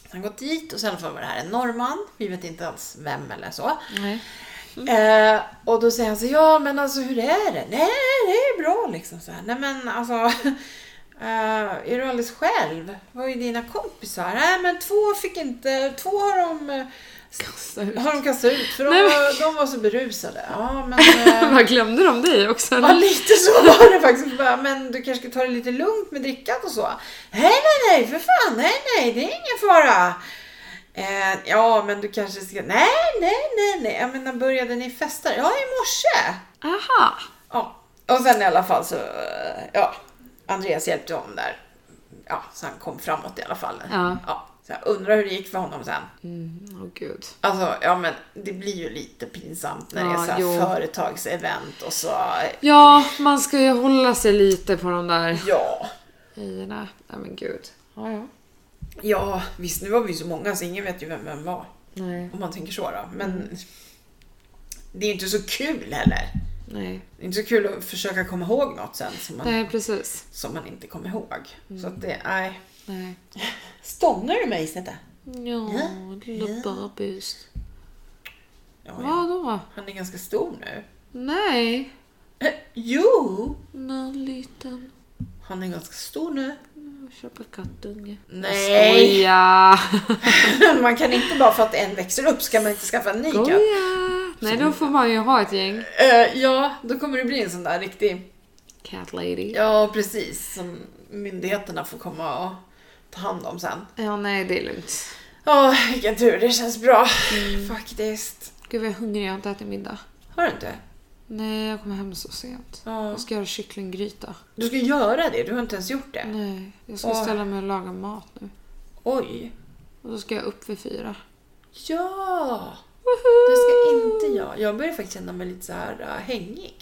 [SPEAKER 2] Så han gått dit och sen var det här en norrman, vi vet inte alls vem eller så.
[SPEAKER 1] Nej. Mm.
[SPEAKER 2] Eh, och då säger han så ja men alltså hur är det? Nej det är bra liksom så här. Nej men alltså, eh, är du alldeles själv? Vad är dina kompisar? Nej men två fick inte, två har de eh, har de kastat ut för de,
[SPEAKER 1] Nej, men-
[SPEAKER 2] var, de var så berusade. Ja, men, eh,
[SPEAKER 1] Vad glömde de dig också?
[SPEAKER 2] Ja,
[SPEAKER 1] Eller?
[SPEAKER 2] lite så var det faktiskt. Bara, Men du kanske ska ta det lite lugnt med drickat och så. Nej, nej, nej, för fan. Nej, nej, det är ingen fara. Eh, ja, men du kanske ska... Nej, nej, nej, nej. Jag menar, började ni festa? Ja, i morse.
[SPEAKER 1] Aha!
[SPEAKER 2] Ja. Och sen i alla fall så... eh, Ja, Andreas hjälpte honom där. Ja, så han kom framåt i alla fall.
[SPEAKER 1] Ja.
[SPEAKER 2] ja så jag undrar hur det gick för honom sen.
[SPEAKER 1] Mm, åh gud.
[SPEAKER 2] Alltså, ja men det blir ju lite pinsamt när det är
[SPEAKER 1] Ja,
[SPEAKER 2] så här
[SPEAKER 1] jo.
[SPEAKER 2] företagsevent och så...
[SPEAKER 1] Ja, man ska ju hålla sig lite på de där
[SPEAKER 2] Ja.
[SPEAKER 1] grejerna. Nej men gud. Ja, ja.
[SPEAKER 2] Ja, visst nu var vi så många så ingen vet ju vem vem var.
[SPEAKER 1] Nej,
[SPEAKER 2] Om man tänker så då. Men det är ju inte så kul heller.
[SPEAKER 1] nej.
[SPEAKER 2] Det är inte så kul att försöka komma ihåg något sen som man,
[SPEAKER 1] Nej, precis.
[SPEAKER 2] som man inte kommer ihåg. Så att det, nej.
[SPEAKER 1] Nej.
[SPEAKER 2] Mm. Stångar du mig Snette?
[SPEAKER 1] Ja, lilla bebis.
[SPEAKER 2] Ja, ja.
[SPEAKER 1] Vadå?
[SPEAKER 2] Han är ganska stor nu.
[SPEAKER 1] Nej.
[SPEAKER 2] Eh, jo!
[SPEAKER 1] Nej, liten.
[SPEAKER 2] Han är ganska stor nu.
[SPEAKER 1] Jag köper kattunge.
[SPEAKER 2] Nej!
[SPEAKER 1] Skoja!
[SPEAKER 2] man kan inte bara för att en växer upp ska man inte skaffa en ny katt.
[SPEAKER 1] Skoja! Nej, då får man ju ha ett gäng.
[SPEAKER 2] Eh, ja, då kommer det bli en sån där riktig...
[SPEAKER 1] Cat lady.
[SPEAKER 2] Ja, precis. Som myndigheterna får komma och ta hand om sen.
[SPEAKER 1] Ja, nej, det är lugnt.
[SPEAKER 2] Ja, vilken tur. Det känns bra. Faktiskt.
[SPEAKER 1] Gud vad jag är hungrig, jag har inte ätit middag.
[SPEAKER 2] Mm. Har du inte?
[SPEAKER 1] Nej, jag kommer hem så sent.
[SPEAKER 2] Ja.
[SPEAKER 1] Jag ska göra kycklinggryta.
[SPEAKER 2] Du ska göra det. Du har inte ens gjort det.
[SPEAKER 1] Nej, jag ska
[SPEAKER 2] Åh.
[SPEAKER 1] ställa mig och laga mat nu.
[SPEAKER 2] Oj.
[SPEAKER 1] Och då ska jag upp vid fyra.
[SPEAKER 2] Ja! Det ska inte jag. Jag börjar faktiskt känna mig lite så här äh, hängig.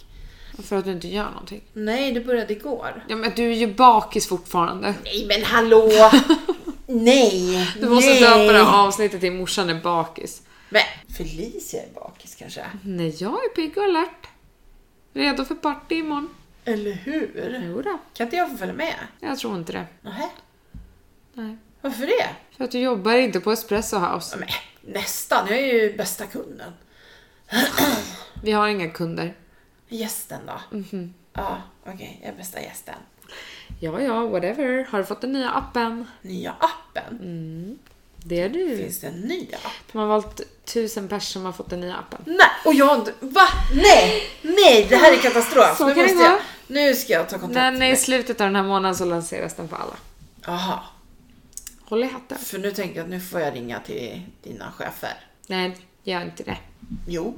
[SPEAKER 1] För att du inte gör någonting.
[SPEAKER 2] Nej, det började igår.
[SPEAKER 1] Ja, men du är ju bakis fortfarande.
[SPEAKER 2] Nej, men hallå! Nej!
[SPEAKER 1] Du måste
[SPEAKER 2] nej.
[SPEAKER 1] döpa det här avsnittet till morsan är bakis.
[SPEAKER 2] Men Felicia är bakis kanske?
[SPEAKER 1] Nej, jag är pigg och alert. Redo för party imorgon.
[SPEAKER 2] Eller hur?
[SPEAKER 1] Jodå.
[SPEAKER 2] Kan inte jag få följa med?
[SPEAKER 1] Jag tror inte det.
[SPEAKER 2] Nähä?
[SPEAKER 1] Nej.
[SPEAKER 2] Varför det?
[SPEAKER 1] För att du jobbar inte på Espresso
[SPEAKER 2] Ja,
[SPEAKER 1] House.
[SPEAKER 2] men, nästan, jag är ju bästa kunden.
[SPEAKER 1] Vi har inga kunder.
[SPEAKER 2] Gästen då? Ja, okej, jag är bästa gästen.
[SPEAKER 1] Ja, ja, whatever. Har du fått den nya appen?
[SPEAKER 2] Nya appen?
[SPEAKER 1] Mm. Det är du.
[SPEAKER 2] Finns det en ny app?
[SPEAKER 1] De har valt tusen personer som har fått den nya appen.
[SPEAKER 2] Nej, och jag har inte- Va? Nej! Nej, det här är katastrof.
[SPEAKER 1] Så
[SPEAKER 2] nu,
[SPEAKER 1] kan det
[SPEAKER 2] måste jag,
[SPEAKER 1] gå.
[SPEAKER 2] nu ska jag ta kontakt
[SPEAKER 1] Men i
[SPEAKER 2] med...
[SPEAKER 1] slutet av den här månaden så lanseras den för alla.
[SPEAKER 2] Jaha,
[SPEAKER 1] Håll i hatten.
[SPEAKER 2] för nu tänker jag att nu får jag ringa till dina chefer.
[SPEAKER 1] Nej, gör inte det.
[SPEAKER 2] Jo,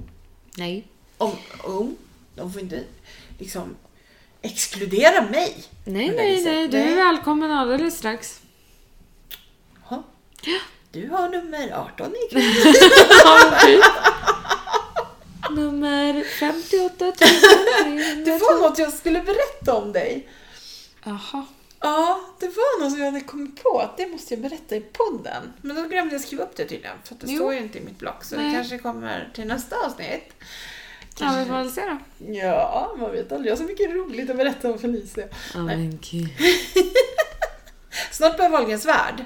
[SPEAKER 1] Nej.
[SPEAKER 2] om, om de får inte liksom exkludera mig.
[SPEAKER 1] Nej,
[SPEAKER 2] På det
[SPEAKER 1] nej,
[SPEAKER 2] viset.
[SPEAKER 1] nej. Du är välkommen alldeles strax.
[SPEAKER 2] Jaha. Du har nummer 18 ikväll.
[SPEAKER 1] Nummer 58
[SPEAKER 2] Det var något jag skulle berätta om dig.
[SPEAKER 1] Jaha.
[SPEAKER 2] Ja, det var något som jag hade kommit på att det måste jag berätta i podden. Men då glömde jag skriva upp det tydligen, för att det
[SPEAKER 1] Jo.
[SPEAKER 2] står ju inte i mitt blogg. Så
[SPEAKER 1] Nej.
[SPEAKER 2] det kanske kommer till nästa avsnitt.
[SPEAKER 1] Ja, vi får väl se då.
[SPEAKER 2] Ja, man vet aldrig. Jag har så mycket roligt att berätta om Felicia.
[SPEAKER 1] Ja, men gud.
[SPEAKER 2] Snart börjar Wahlgrens värld.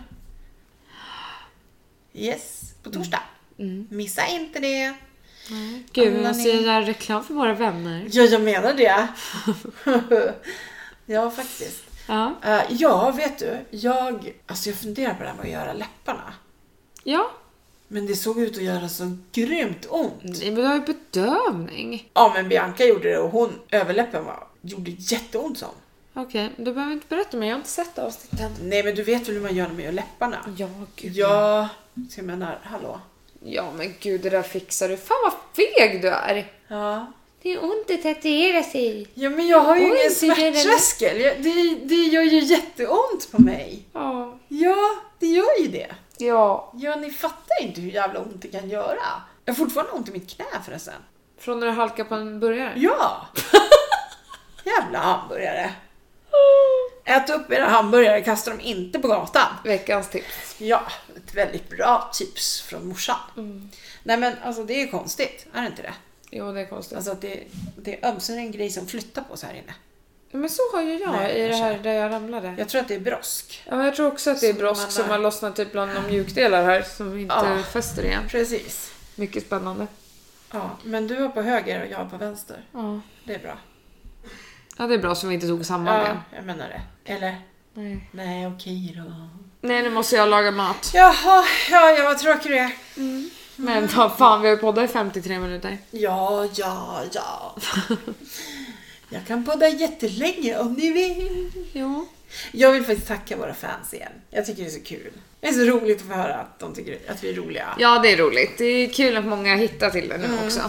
[SPEAKER 2] Yes, på torsdag. Missa inte det.
[SPEAKER 1] Gud, vi
[SPEAKER 2] Alla
[SPEAKER 1] måste
[SPEAKER 2] ni-
[SPEAKER 1] ju göra reklam för våra vänner.
[SPEAKER 2] Ja, jag menar det. ja, faktiskt.
[SPEAKER 1] Ja.
[SPEAKER 2] Eh, ja, vet du. Jag, alltså jag funderar på det här med att göra läpparna.
[SPEAKER 1] Ja.
[SPEAKER 2] Men det såg ut att göra så grymt ont.
[SPEAKER 1] Nej, men du har ju bedövning.
[SPEAKER 2] Ja, men Bianca gjorde det och hon, överläppen var, gjorde jätteont som.
[SPEAKER 1] Okej, men du behöver inte berätta mer. Jag har inte sett avsnitten.
[SPEAKER 2] Nej, men du vet väl hur man gör när man gör läpparna?
[SPEAKER 1] Ja, gud.
[SPEAKER 2] Ja, så jag menar, hallå.
[SPEAKER 1] Ja, men gud, det där fixar du. Fan vad feg du är.
[SPEAKER 2] Ja,
[SPEAKER 1] Det är ont att tatuera sig.
[SPEAKER 2] Ja men jag har ju
[SPEAKER 1] Oj,
[SPEAKER 2] ingen
[SPEAKER 1] det gör det.
[SPEAKER 2] smärttröskel. Jag, det, det gör ju jätteont på mig.
[SPEAKER 1] Ja.
[SPEAKER 2] Ja, det gör ju det.
[SPEAKER 1] Ja.
[SPEAKER 2] Ja, ni fattar inte hur jävla ont det kan göra. Jag har fortfarande ont i mitt knä förresten.
[SPEAKER 1] Från när du halkade på en burgare?
[SPEAKER 2] Ja! jävla hamburgare. Ät upp era hamburgare, kasta dem inte på gatan.
[SPEAKER 1] Veckans tips.
[SPEAKER 2] Ja, ett väldigt bra tips från morsan. Nej men alltså det är ju konstigt, är det inte det?
[SPEAKER 1] Jo, det är konstigt.
[SPEAKER 2] Alltså att det, det är ömsen en grej som flyttar på sig här inne.
[SPEAKER 1] Men så har ju jag
[SPEAKER 2] Nej,
[SPEAKER 1] i det
[SPEAKER 2] jag
[SPEAKER 1] här där jag ramlade.
[SPEAKER 2] Jag tror att det är brosk.
[SPEAKER 1] Ja, jag tror också att det är
[SPEAKER 2] Som
[SPEAKER 1] brosk
[SPEAKER 2] man
[SPEAKER 1] som
[SPEAKER 2] har-
[SPEAKER 1] har lossnat typ bland de mjukdelar här som inte
[SPEAKER 2] Ja.
[SPEAKER 1] fäster igen.
[SPEAKER 2] Precis.
[SPEAKER 1] Mycket spännande.
[SPEAKER 2] Ja, men du var på höger och jag var på vänster.
[SPEAKER 1] Ja.
[SPEAKER 2] Det är bra.
[SPEAKER 1] det är bra som vi inte tog samman
[SPEAKER 2] Ja,
[SPEAKER 1] ben.
[SPEAKER 2] jag menar det. Eller?
[SPEAKER 1] Nej.
[SPEAKER 2] Nej, okej då.
[SPEAKER 1] Nej, nu måste jag laga mat.
[SPEAKER 2] Jaha, ja, ja vad tråkig du är.
[SPEAKER 1] Men vad fan, vi har ju poddat i 53 minuter.
[SPEAKER 2] Ja, ja, ja. jag kan podda jättelänge om ni vill.
[SPEAKER 1] Jo.
[SPEAKER 2] Jag vill faktiskt tacka våra fans igen. Jag tycker det är så kul. Det är så roligt att få höra att de tycker att vi är roliga.
[SPEAKER 1] Ja, det är roligt. Det är kul att många hittar till den nu också.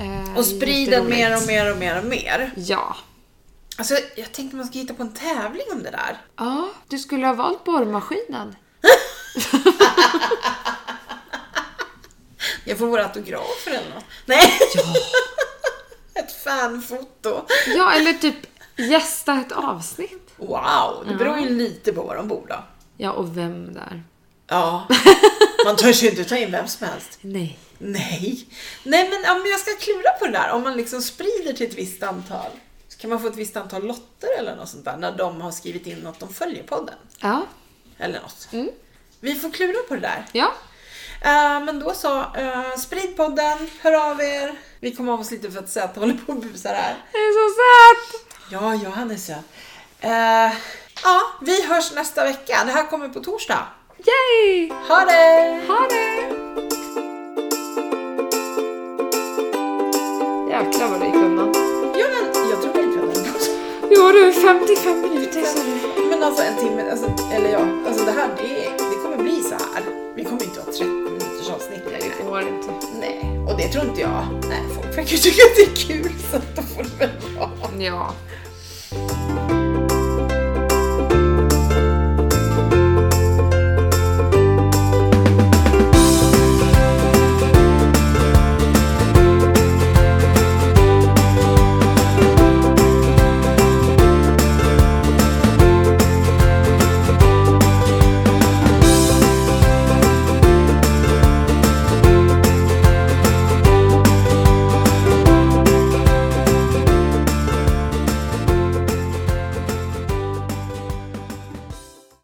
[SPEAKER 1] Mm. Eh,
[SPEAKER 2] Och sprid den
[SPEAKER 1] jätteroligt.
[SPEAKER 2] mer och mer och mer och mer.
[SPEAKER 1] Ja.
[SPEAKER 2] Alltså, jag tänkte man ska hitta på en tävling om det där.
[SPEAKER 1] Ja, du skulle ha valt borrmaskinen.
[SPEAKER 2] Jag får våra autografer eller något. Nej! ett fanfoto.
[SPEAKER 1] Ja, eller typ gästa ett avsnitt.
[SPEAKER 2] Wow, det beror ju lite på var de bor då.
[SPEAKER 1] Ja, och vem där?
[SPEAKER 2] Ja. Man törs ju inte ta in vem som helst.
[SPEAKER 1] Nej.
[SPEAKER 2] Nej. Nej men, ja, men jag ska klura på det där. Om man liksom sprider till ett visst antal. Så kan man få ett visst antal lotter eller något sånt där. När de har skrivit in något de följer podden.
[SPEAKER 1] Ja.
[SPEAKER 2] Eller något.
[SPEAKER 1] Mm.
[SPEAKER 2] Vi får klura på det där.
[SPEAKER 1] Ja.
[SPEAKER 2] Eh, men då så. eh, sprid podden, hör av er. Vi kommer av oss lite för att Zäta håller på och busar här.
[SPEAKER 1] Det är så söt!
[SPEAKER 2] Ja, ja han är söt. Eh, ja, vi hörs nästa vecka. Det här kommer på torsdag.
[SPEAKER 1] Yay!
[SPEAKER 2] Ha det!
[SPEAKER 1] Ha det! jädrar vad det gick undan.
[SPEAKER 2] Ja, men jag tror vi pratade om det.
[SPEAKER 1] Jo du, 55 minuter sa du.
[SPEAKER 2] Men alltså en timme, alltså, eller ja, alltså det här det, det kommer bli så här. Vi kommer inte ha 30 minuters avsnitt
[SPEAKER 1] Nej, det
[SPEAKER 2] längre.
[SPEAKER 1] går inte.
[SPEAKER 2] Nej, och det tror inte jag. Nej, folk verkar tycka att det är kul så att då får det väl vara.
[SPEAKER 1] Ja.